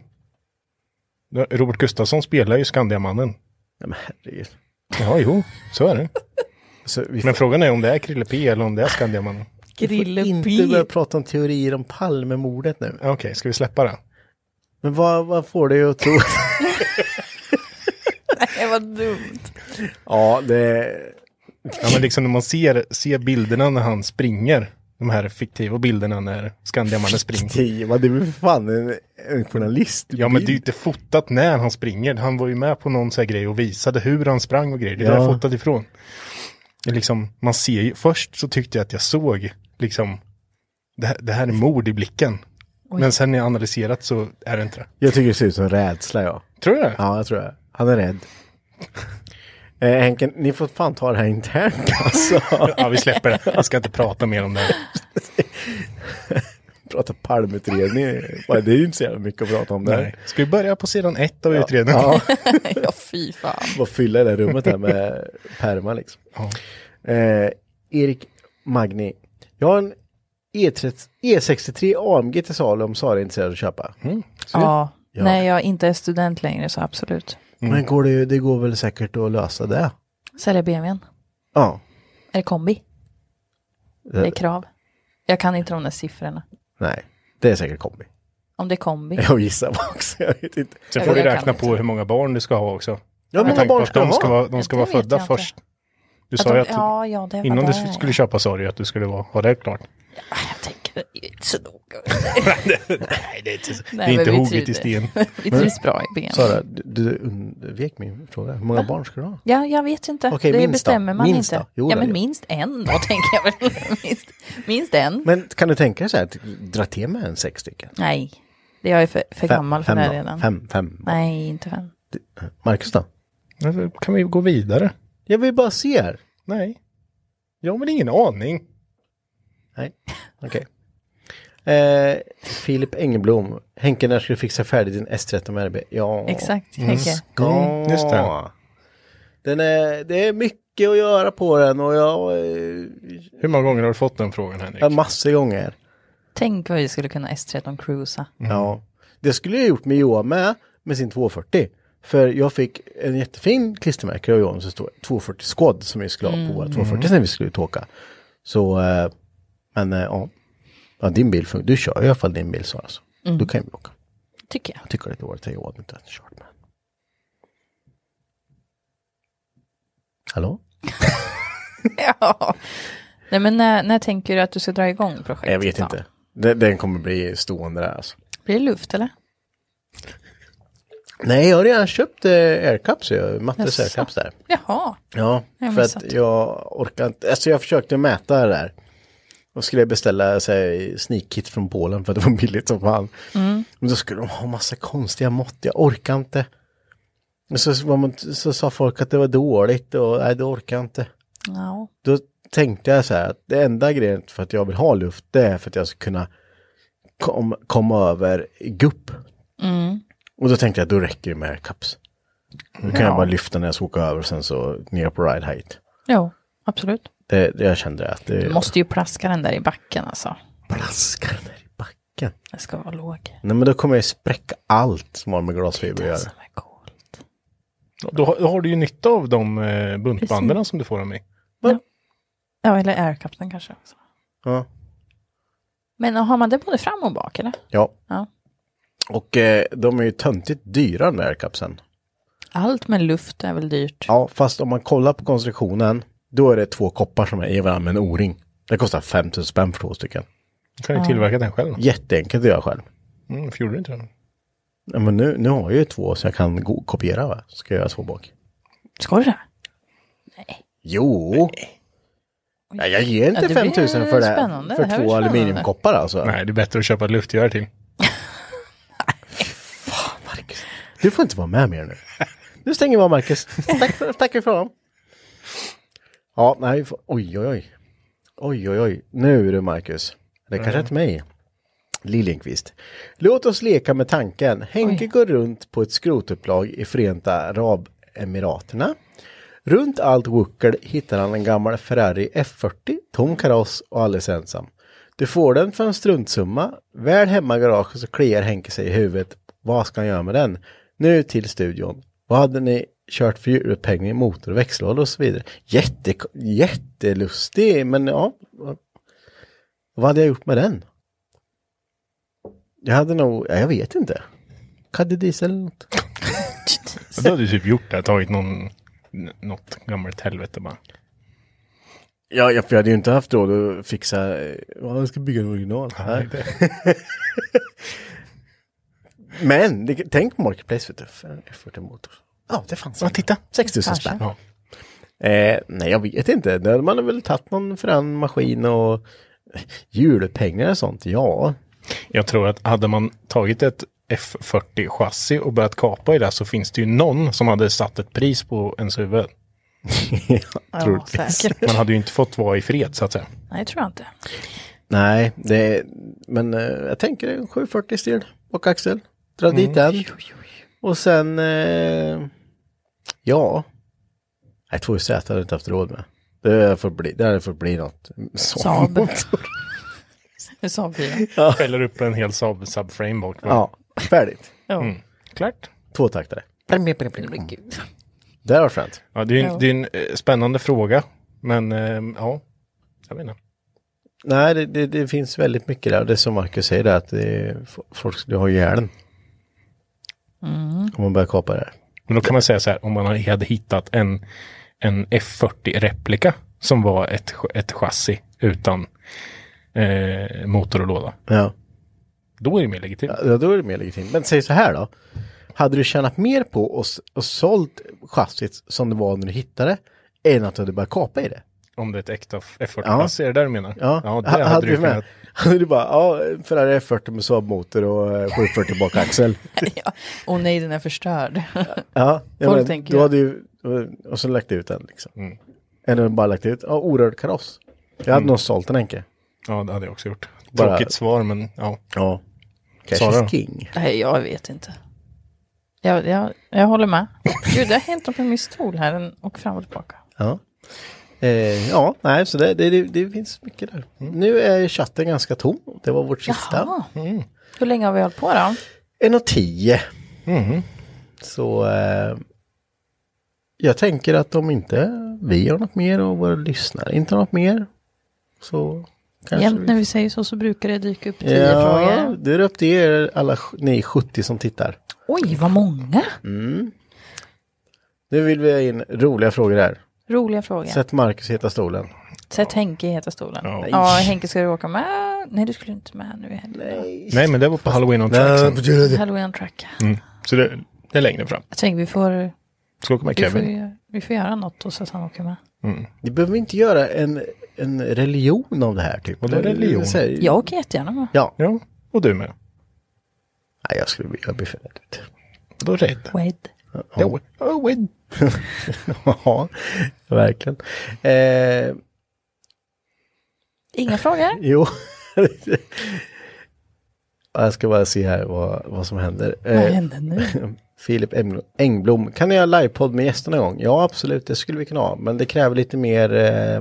Robert Gustafsson spelar ju Skandiamannen. Nej, men herregud. Ja, jo, så är det. Så vi får Men frågan är om det är Krille P eller om det är Skandiamannen. Grille inte börja B. prata om teorier om Palmemordet nu. Ja, Okej, ska vi släppa det? Men vad, vad får dig att tro? Nej, vad dumt. ja, det... Ja, men liksom när man ser, ser bilderna när han springer. De här fiktiva bilderna när Skandiamannen springer. Tio, vad det är väl för fan en, en journalist? Ja, men det är ju inte fotat när han springer. Han var ju med på någon sån här grej och visade hur han sprang och grejer. Det är där Ja. jag fotat ifrån. Det är liksom, man ser ju, först så tyckte jag att jag såg liksom, det här, det här är mord i blicken. Men sen när jag analyserat så är det inte det. Jag tycker det ser ut som rädsla, ja. Tror du det? Ja, jag tror det. Han är rädd. Eh, Henke, ni får fan ta det här internt alltså. Ja, vi släpper det. Jag ska inte prata mer om det. här. prata palmutredning. Bara, Det är ju inte så jävla mycket att prata om där. Nej. Ska vi börja på sidan ett av utredningen? Ja, Ja, fy fan. bara fylla det där rummet här med pärmar liksom. Eh, Erik Magni. Jag har en E E30, E63 AMG till salu om Sara är intresserad av att köpa. Ja, Ja. när jag inte är student längre så absolut. Men går det, det går väl säkert att lösa det? Sälja BMWn. Ja. Är det kombi? Eh. Det är krav. Jag kan inte de där siffrorna. Nej, det är säkert kombi. Om det är kombi. Jag gissar bara också, jag vet inte. Sen får Ja, du jag kan räkna inte. på hur många barn du ska ha också. Ja, hur Med många tanke på barn att ska de de ska ha? vara, de ska Det vara vet jag födda inte. först. Du Att sa de- ju att ja, ja, det var innan du där. skulle köpa sa du ju att du skulle vara, ha det klart. Jag tänker, det är inte så noga. Nej, det är inte, Nej, det är men inte vi hugget trivde. i sten. Vi trivs bra i BMWn. Sara, du, du undvek min fråga. Hur många barn ska du ha? Ja, jag vet inte. Okej, det minst då. bestämmer man Minst då. inte. Jo ja, då, men jo. minst en då, tänker jag väl. minst, minst en. Men kan du tänka dig så här, att dra till med en sex stycken? Nej, det är jag är för, för gammal för fem det då? redan. Fem, fem. Nej, inte fem. Marcus då? Men då Alltså, kan vi gå vidare? Jag vill bara se här. Nej. Jag har väl ingen aning. Nej, okej. Eh, Filip Engelblom. Henke, när ska du fixa färdigt din S13 RB? Ja, Exakt, Mm. Mm, Henke. Ja, Just det. Den är, det är mycket att göra på den och jag... eh, Hur många gånger har du fått den frågan Henrik? Ja, massor gånger. Tänk vad vi skulle kunna S13 cruisa. Ja. Det skulle jag gjort med Johan med, med sin 240. För jag fick en jättefin klistermärke av Johan som står 240 Squad som vi skulle ha på våra 240 när vi skulle ut och åka. Så, eh, men eh, ja. ja. Din bil funkar, du kör i alla fall din bil så alltså. Då kan vi åka. Tycker jag. Jag tycker det är dåligt att Johan inte har kört med. Hallå? Ja. Nej, men när, när tänker du att du ska dra igång projektet? Jag vet då? inte. Den, den kommer bli stående där alltså. Blir det luft eller? Nej, jag har redan köpt eh, aircups, ju, Mattes Jaså. aircups där. Jaha. Ja, Jag har för missat. att jag orkar inte. Alltså jag försökte mäta det där. Och skulle beställa så här, sneakkit från Polen för att det var billigt som fan. Men då skulle de ha massa konstiga mått, jag orkar inte. Men så, var man, så sa folk att det var dåligt och nej, det orkar jag inte. Ja. Då tänkte jag så här att det enda grejen för att jag vill ha luft det är för att jag ska kunna kom, komma över gupp. Och då tänkte jag då räcker det med aircups. Då kan jag bara lyfta när jag ska åka över och sen så ner på ride height. Jo, absolut. Det, det jag kände att det Du måste ju plaska den där i backen alltså. plaskar ner i backen. spricka. Jag ska vara låg. Nej men då kommer jag ju spräcka allt som har med glasfiber att Det som göra. är coolt. Då, har- då har du ju nytta av de eh, buntbanden som du får av mig. Ja, eller aircapten kanske också. Ja. Men har man det både fram och bak eller? ja. Ja. Och eh, de är ju töntigt dyra den där aircapsen. Allt med luft är väl dyrt? Ja, fast om man kollar på konstruktionen, då är det två koppar som är i varandra med en o-ring. Det kostar 5000 spänn för två stycken. Du kan ju tillverka den själv. Jätteenkelt att göra själv. Mm, för gjorde du inte det? Ja, men nu, nu har jag ju två så jag kan gå, kopiera va? Ska jag göra så bak? Ska du det? Jo! Nej, jag ger Ja, inte det 5 000 blir för det. spännande. Det För här blir två spännande. aluminiumkoppar alltså. Nej, det är bättre att köpa ett luftgevär till. Marcus, du får inte vara med mer nu. Nu stänger vi av Marcus. Tack, för- tack för honom. Ja, nej, vi får- oj, oj, oj. Oj, oj, oj. Nu du Marcus. Det kanske är till mig. Liljenkvist. Låt oss leka med tanken. Henke går runt på ett skrotupplag i Förenta Arabemiraterna. Runt allt wuckel hittar han en gammal Ferrari F40, tom kaross och alldeles ensam. Du får den för en struntsumma. Väl hemma i garaget så kliar Henke sig i huvudet. Vad ska han göra med den? Nu till studion. Vad hade ni kört för hjulupphängning, motor och växellåda och så vidare? Jätte, jättelustig, men ja. vad- Vad hade jag gjort med den? Jag hade nog, ja, jag vet inte. Caddy diesel eller något. Då hade du typ gjort det, tagit någon, n- något gammalt helvete bara. Ja, ja, för jag hade ju inte haft råd att fixa, eh, ja, jag ska bygga en original. Nej. Men, det, tänk på Marketplace, vet du, för en F40 motor. Ja, det fanns. Ja, titta. 6 000 Kanske. spänn. Ja. Eh, nej, jag vet inte. Det hade man hade väl tagit någon för en maskin och eh, julpengar och sånt. Ja, Jag tror att hade man tagit ett F40-chassi och börjat kapa i det så finns det ju någon som hade satt ett pris på ens huvud. Ja, troligtvis. säkert. Man hade ju inte fått vara i fred så att säga. Nej, tror jag inte. Nej, det, men eh, jag tänker en 740 stil och axel. Dra dit den. Och sen, eh, ja. Nej, 2Z hade jag inte haft råd med. Det får bli, det hade fått bli något. Så. Saab. Saab 4. Skäller upp en hel Saab subframe bak. bara. Ja, färdigt. Mm. Klart. Tvåtaktare. Det var skönt. Ja, det är ju en, det är en eh, spännande fråga. Men eh, ja, jag vet inte. Nej, det, det, det finns väldigt mycket där. Det är som Marcus säger, där, att det är, folk skulle ha ihjäl den. Om man börjar kapa det här. Men då kan man säga så här, om man hade hittat en, en F40-replika som var ett, ch- ett chassi utan eh, motor och låda. Ja. Då är det mer legitimt. Ja, då är det mer legitimt. Men säg så här då. Hade du tjänat mer på och, s- och sålt chassit som det var när du hittade än att du hade börjat kapa i det? Om det är ett äkta F40-chassi, är det där du menar? Ja, det Ha- hade, hade, du du med, kunnat. hade du bara, ja, Ferrari F40 med Saab-motor och eh, 740 bakaxel. Åh nej, den är förstörd. ja, jag Folk men, tänker då ju- hade ju, eh, och så lagt ut den liksom. Mm. Eller bara lagt ut, ja, orörd kaross. Jag hade nog sålt den Henke. Ja, det hade jag också gjort. Bara- Tråkigt svar, men ja. Ja. Sara Cash då? is king. Nej, jag vet inte. Jag, jag, jag håller med. Gud, det har hänt något med min stol här. Den åker fram och tillbaka. Ja. Eh, ja, nej, så det, det, det, det finns mycket där. Mm. Nu är chatten ganska tom. Det var vårt sista. Ja. Ah. Hur länge har vi hållit på då? En och tio. Mm-hmm. Så eh, jag tänker att om inte vi har något mer och våra lyssnare inte har något mer så kanske Jämt när vi säger så så brukar det dyka upp tio Ja, frågor. det är upp till er alla sj- ni 70 som tittar. Oj, vad många! Nu vill vi ha in roliga frågor här. Roliga frågor. Sätt, Sätt Marcus i heta stolen. Henke i Heta stolen. Ja. Henke ska du åka med. Nej, du skulle inte med nu i helgen. Nej, men det var på Halloween on track sen. Halloween on track. Så det, det är längre fram. Jag tänker vi får, Ska åka med vi, får, Kevin. ju- vi får göra något och så att han åker med. Ni behöver inte göra en, en religion av det här typ. Vadå religion? Så här- Jag åker jättegärna med. Ja. Ja, och du med. Nej, jag skulle bli, jag blir för rädd. vet du. Då rädd. Wade. Ja, oh, wed. ja, verkligen. Eh, Inga frågor? Jo. jag ska bara se här vad, vad som händer. Vad Eh, hände nu? Filip Engblom- Engblom, kan ni göra livepodd med gästerna någon gång? Ja, absolut, det skulle vi kunna ha, men det kräver lite mer eh,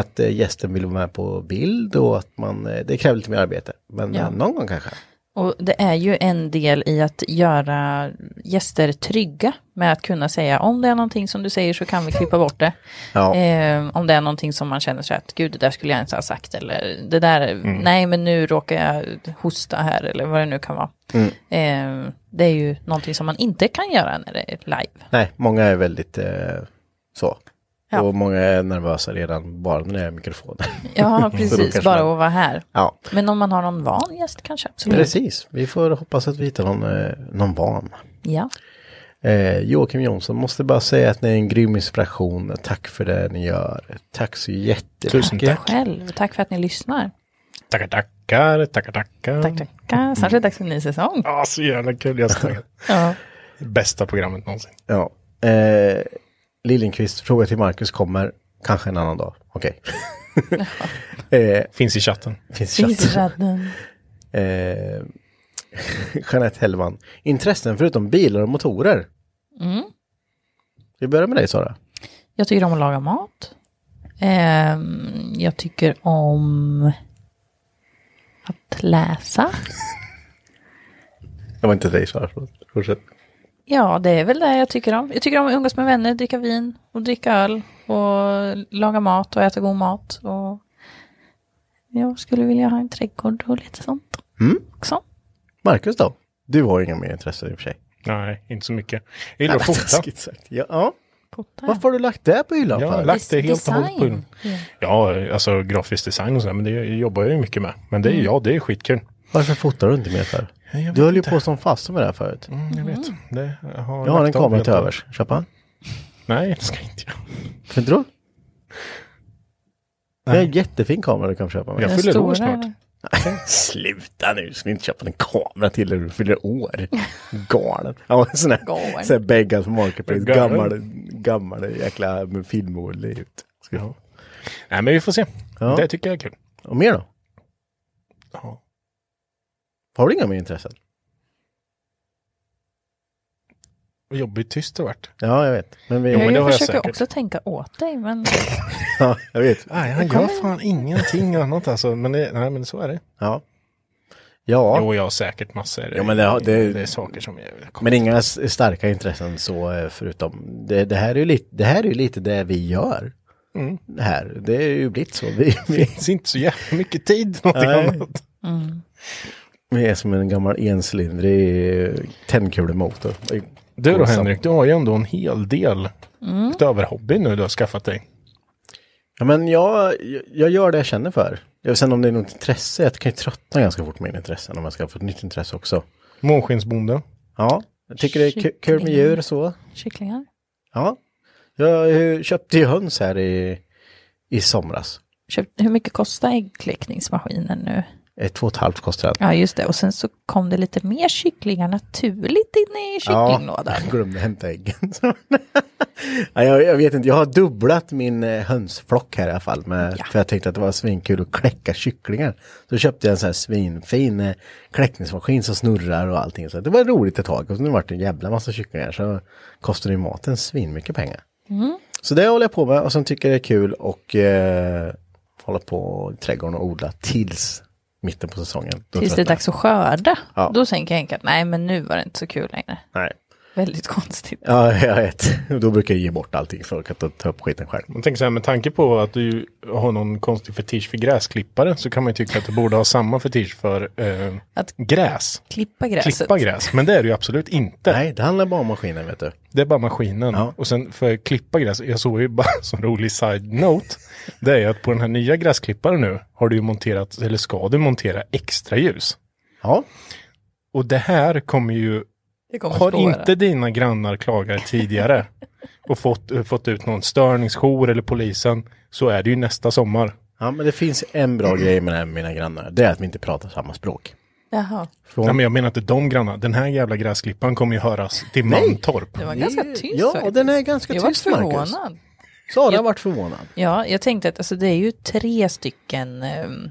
Att eh, gästen vill vara med på bild och att man, eh, det kräver lite mer arbete. Men Ja. eh, någon gång kanske. Och det är ju en del i att göra gäster trygga med att kunna säga om det är någonting som du säger så kan vi klippa bort det. Ja. Eh, om det är någonting som man känner så här att gud det där skulle jag inte ha sagt eller det där, Mm. nej men nu råkar jag hosta här eller vad det nu kan vara. Mm. Eh, det är ju någonting som man inte kan göra när det är live. Nej, många är väldigt eh, så. Ja. Och många är nervösa redan bara när det är mikrofoner. Ja, Så då precis, kanske bara man- att vara här. Ja, Men om man har någon van gäst kanske, Mm. absolut. precis. Vi får hoppas att vi hittar någon, eh, någon van. Ja. Eh, Joakim Jonsson måste bara säga att ni är en grym inspiration. Tack för det ni gör. Tack så jättemycket. Tusen tack. Själv, tack för att ni lyssnar. Tackar, tackar, tackar, tackar. Tack, tackar. Snart är det dags för en ny säsong. Ja, så jävla kul. Jag ska- Ja. Bästa programmet någonsin. Ja. Eh, Liljenkvist, fråga till Marcus kommer. Kanske en annan dag. Okej. eh, Finns i chatten. finns i Finns i chatten. chatten. Eh, Jeanette Hellman. Intressen förutom bilar och motorer. Mm. Vi börjar med dig Sara. Jag tycker om att laga mat. Ehm, jag tycker om att läsa. Det var inte dig Sara, förlåt. Fortsätt. Ja, det är väl det jag tycker om. Jag tycker om att umgås med vänner, dricka vin och dricka öl och laga mat och äta god mat. Och jag skulle vilja ha en trädgård och lite sånt Mm. också. Marcus då? Du har ju inga mer intressen i och för sig. Nej, inte så mycket. Jag gillar att fota. Taskigt sagt. Ja, ja. Fota. Varför har du lagt det på hyllan Jag har för? lagt det helt och hållet på Design. hyllan. Ja, alltså grafisk design och sådär, men det jobbar jag ju mycket med. Men det är ja, det är skitkul. Varför fotar du inte mer för? Mm. Jag vet Du höll ju inte. på som fasen med det här förut. Mm, jag vet. Det har Jag har en lagt av kamera helt till och- övers. Köpa en. Nej, det ska inte jag. För inte då? Det är Nej. en jättefin kamera du kan köpa. Med. Jag Den fyller stora, år snart. eller? Sluta nu, du ska inte köpa en kamera till dig när du fyller år. Galen. Ja, en sån här, Galen. sån här beggars marketplace. Galen. Gammal, gammal jäkla med filmmål ut. Ska jag ha. Nej, men vi får se. Ja. Det tycker jag är kul. Och mer då? Ja. Har du inga mer intressen? Vad jobbigt tyst det vart. Ja, jag vet. Men vi... Jo, men det har jag jag försöker säkert. också tänka åt dig, men Ja, jag vet. Nej, han gör fan ingenting annat alltså. Men, det, nej, men så är det. Ja. Ja. Jo, jag har säkert massor. Ja, men det har- det- är saker som jag... Men inga s- starka intressen så eh, förutom det, det här är ju lite det här är ju lite det vi gör. Det här, det är ju blivit så. Vi, Det vi, finns inte så jävla mycket tid till någonting Nej. annat. vi är som en gammal encylindrig eh, tändkulemotor. Du då Konstigt. Henrik, du har ju ändå en hel del Mm. utöver hobby nu du har skaffat dig. Ja, men jag, jag gör det jag känner för. Ja, Sen om det är något intresse, jag kan ju tröttna ganska fort med mina intressen om jag ska få ett nytt intresse också. Månskensbonden. Ja, jag tycker det är ku- kul med djur och så. kycklingar. Ja, jag eh, köpte ju höns här i, i somras. Köpt, hur mycket kostar äggkläckningsmaskinen nu? Eh, Två och ett halvt kostade den. Ja, just det. Och sen så kom det lite mer kycklingar naturligt in i kycklinglådan. Jag glömde hämta äggen. Så- ja, jag, jag vet inte, jag har dubblat min eh, hönsflock här i alla fall. Med, För jag tänkte att det var svinkul att kläcka kycklingar. Så köpte jag en sån här svinfin eh, kläckningsmaskin som snurrar och allting. Så det var roligt ett tag. Och så nu vart det en jävla massa kycklingar. Så kostade ju maten svinmycket pengar. Mm. Så det håller jag på med och sen tycker jag det är kul och eh, hålla på i trädgården och odla tills mitten på säsongen. Då Tills det är tröttnar jag. dags att skörda. Ja. Då tänker jag enkelt, nej men nu var det inte så kul längre. Nej. Väldigt konstigt. Ja, jag vet. Då brukar jag ge bort allting för att ta- ta upp skiten själv. Man tänker så här, med tanke på att du ju har någon konstig fetisch för gräsklippare så kan man ju tycka att du borde ha samma fetisch för eh, Att gräs. klippa gräset. Klippa gräs. Men det är det ju absolut inte. Nej, det handlar bara om maskinen, vet du. Det är bara maskinen. Ja. Och sen för att klippa gräs, jag såg ju bara som rolig side-note, det är ju att på den här nya gräsklipparen nu har du ju monterat, eller ska du montera extra ljus. Ja, Och det här kommer ju Det kommer Har spåra. inte dina grannar klagat tidigare och fått, eh, fått ut någon störningsjour eller polisen så är det ju nästa sommar. ja men det finns en bra grej med det här med mina grannar. Det är att vi inte pratar samma språk. Jaha. Från... Nej, men jag menar inte de grannarna. Den här jävla gräsklippan kommer ju höras till Mantorp. Det var ganska Ja, tyst ja, faktiskt. den är ganska jag var tyst, Marcus. förvånad. Sara har varit förvånad. Ja, jag tänkte att alltså, det är ju tre stycken ehm,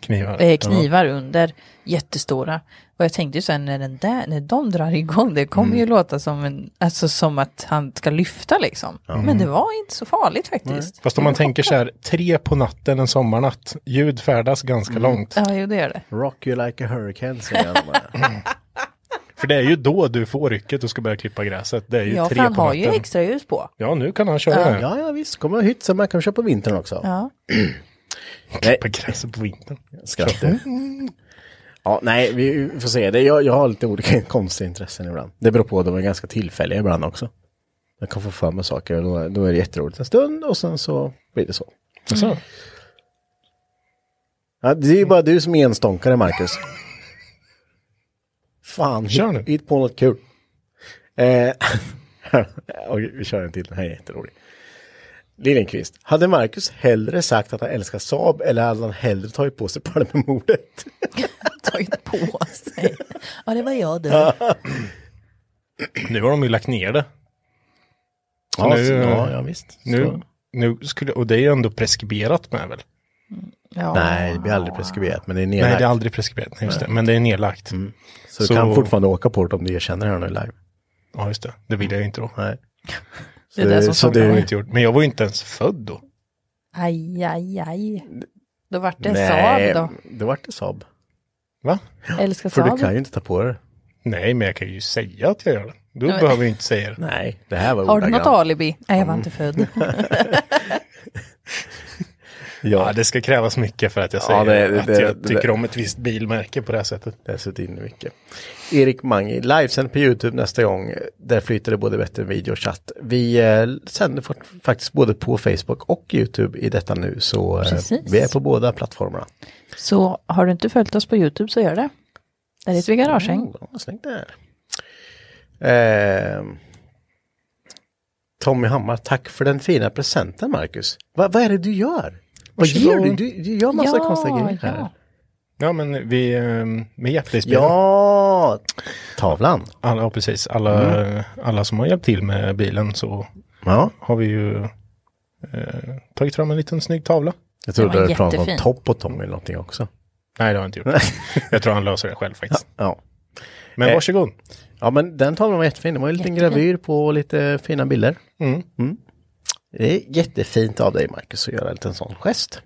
Knivar. eh, knivar under, jättestora. Och jag tänkte ju sen när, den där, när de drar igång det kommer Mm. ju låta som, en, alltså, som att han ska lyfta liksom. Men det var inte så farligt faktiskt. Fast om man tänker så här, tre på natten en sommarnatt, ljud färdas ganska Mm. långt. Ja, jo det gör det. Rock you like a hurricane säger han bara. För det är ju då du får rycket och ska börja klippa gräset. Det är ju Ja, för tre han på har ju natten. extraljus på. Ja, nu kan han köra. Ja, ja visst, kommer en hytt som man kan köpa på vintern också. Ja. Nej, Klippa gräset på vintern. Mm. skrattar. Ja, nej, vi får se. Det, jag, jag har lite olika konstiga intressen ibland. Det beror på, de är ganska tillfälliga ibland också. Jag kan få för mig saker och då, då är det jätteroligt en stund och sen så blir det så. Så. Ja, det är ju bara du som är enstånkare, Marcus. Fan, Kör nu. hit, hit på något kul. Eh, okej, vi kör en till, den här är jätterolig. Liljenkvist, hade Marcus hellre sagt att han älskar Saab eller hade han hellre tagit på sig Palmemordet? Tagit på sig. Ja, det var jag det. Nu har de ju lagt ner det. Så Ja, nu- så- ja, ja, visst. Nu, Så. nu skulle, och det är ju ändå preskriberat med väl? Ja. Nej, det blir aldrig preskriberat, men det är Nej, nedlagt. det är aldrig preskriberat. Nej, just det. Men det är nedlagt. Mm. så du så- kan fortfarande åka på det om du erkänner det här nu live. Ja, just det. Det vill jag ju inte då. Nej. Det är det som så Det saknas. har jag du, inte gjort. Men jag var ju inte ens född då. Aj, aj, aj. Då vart det nej, Saab det vart det Saab. Va? då. Älskar För du Saab. kan ju inte ta på det. Nej, men jag kan ju säga att jag gör det. Då behöver jag inte säga det. Nej, det här var Har du ordagrant. något alibi? Nej, jag var inte född. Ja, Ja, det ska krävas mycket för att jag Ja, säger det- det- att det- jag det- tycker om ett visst bilmärke på det här sättet. Där sitter inne mycket. Erik Mangi, livesänd på YouTube nästa gång. Där flyter det både bättre video och chatt. Vi eh, sänder fort- faktiskt både på Facebook och YouTube i detta nu. Så eh, Precis. vi är på båda plattformarna. Så har du inte följt oss på YouTube så gör det. Där heter vi Garagehäng. Ja, snyggt där. Eh, Tommy Hammar, tack för den fina presenten Marcus. Va, vad är det du gör? Vad gör Varsågod. du? du? Du gör massa konstiga grejer här. ja. Ja, men vi ehm, med hjärtespel. Ja, tavlan. Alla, ja, precis. Alla, Mm. alla som har hjälpt till med bilen så Ja, har vi ju eh, tagit fram en liten snygg tavla. jag trodde Den var du pratade om jättefin. topp och Tommy eller någonting också. Nej, det har jag inte gjort. jag tror han löser det själv faktiskt. Ja. Eh, Men varsågod. ja, men den tavlan var jättefin. Det var ju en liten gravyr på lite fina bilder. Mm. Det är jättefint av dig Marcus att göra en liten sån gest.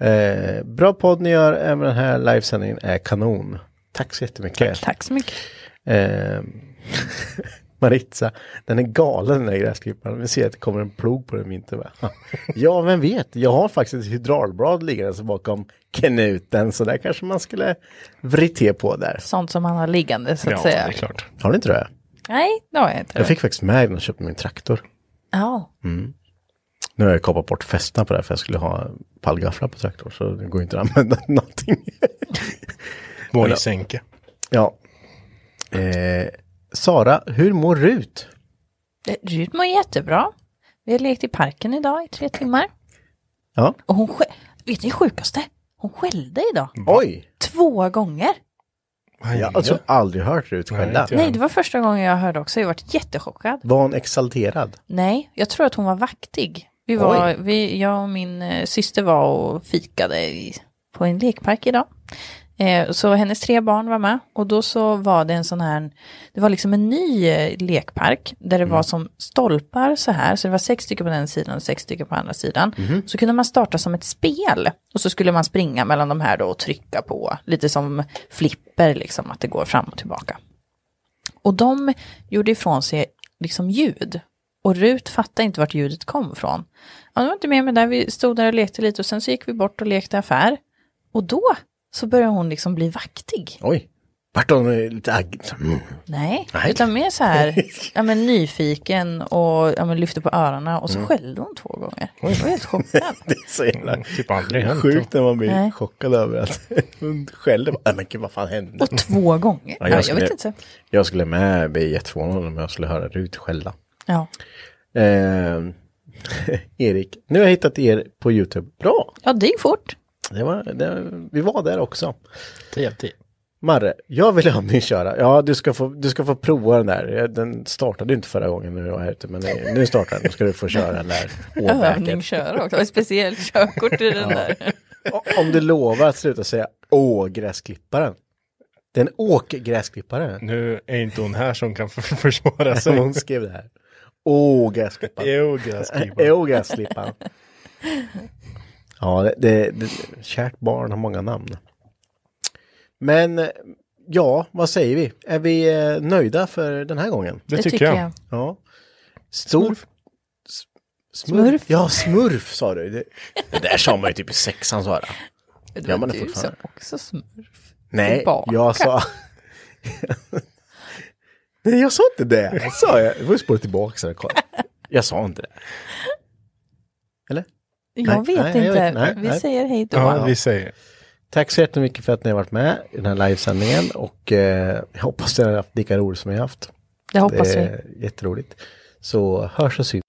Eh, bra podd ni gör, även den här livesändningen är kanon. Tack så jättemycket. Tack så mycket. Eh, Maritza, den är galen den där gräsklipparen. Vi ser att det kommer en plog på den vinter med. ja, vem vet? Jag har faktiskt ett hydraulblad liggandes bakom knuten, så där kanske man skulle vrite på där. Sånt som han har liggande så att Ja, det säga. är klart. Har ni inte det? Nej, det har jag inte. Jag fick faktiskt med när jag köpte min traktor. Ja, Nu har jag kapat bort fästena på det här för jag skulle ha pallgafflar på traktor så det går inte att använda någonting. Voice-enke. ja. Eh, Sara, hur mår Rut? det- Rut mår jättebra. Vi har lekt i parken idag i tre timmar. Ja. Och hon, skä- vet ni det sjukaste? Hon skällde idag. Oj! Två gånger. Jag har alltså aldrig hört Rut Nej, skälla. inte jag. Nej, det var första gången jag hörde också. Jag varit jättechockad. Var hon exalterad? Nej, jag tror att hon var vaktig. Vi var, vi, jag och min eh, syster var och fikade i, på en lekpark idag. Eh, så hennes tre barn var med och då så var det en sån här, det var liksom en ny eh, lekpark där det var som stolpar så här, så det var sex stycken på den sidan och sex stycken på andra sidan. Så kunde man starta som ett spel och så skulle man springa mellan de här då och trycka på, lite som flipper liksom, att det går fram och tillbaka. Och de gjorde ifrån sig liksom ljud. Och Rut fattade inte vart ljudet kom ifrån. Ja, det var inte mer med det där. Vi stod där och lekte lite och sen så gick vi bort och lekte affär. Och då så började hon liksom bli vaktig. Oj! Vart hon eh, lite agg? Mm. Nej, Nej. utan mer så här ja, men nyfiken och ja, men lyfte på öronen och så skällde hon två gånger. Jag var helt chockad. Mm. Det är så jävla Mm, Typ aldrig hänt. sjukt när man blir Nej. chockad över att hon skäller. Bara, "Nej, Men gud, vad fan hände? Och två gånger. Ja, Ja, jag jag, skulle- vet inte. Jag skulle med bli jätteförvånad om jag skulle höra Rut skälla. Ja. Eh, Erik, nu har jag hittat er på YouTube. Bra! ja, det gick fort. Det var, det, vi var där också. Tio av tio. Marre, jag vill ha din köra. Ja, du ska, få, du ska få prova den där. Den startade ju inte förra gången när jag var här ute, men nu- nu startar den. Då ska du få köra den där. åbäket. Övningsköra också. Och Speciellt körkort i den där. O- Om du lovar att sluta säga ågräsklipparen. Det är en åkgräsklippare. Nu är inte hon här som kan f- försvara sig. Hon Eh, skrev det här. Ågräsklipparen. Ågräsklipparen. Ågräsklipparen. Ja, det, det, det, kärt barn har många namn. Men ja, vad säger vi? Är vi eh, nöjda för den här gången? Det tycker jag. Ja. Stor... Smurf. S- Smurf. Ja, smurf sa du. Det, det där sa man ju typ i sexan Sara. Det Ja, var men det är du som fortfarande. också smurf. Nej, Tillbaka. jag sa... Nej, jag sa inte det. Jag sa jag. Det var ju spåret tillbaka. Så jag, kollade. jag sa inte det. Eller? Jag Nej, vet nej, jag inte. vet- nej, vi nej. säger hej då. Ja, vi säger. Tack så jättemycket för att ni har varit med i den här livesändningen och eh, jag hoppas att ni har haft lika roligt som jag har haft. det hoppas det vi. är jätteroligt. Så hörs och syns.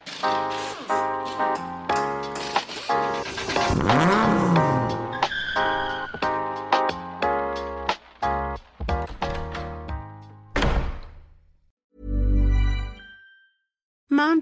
Mom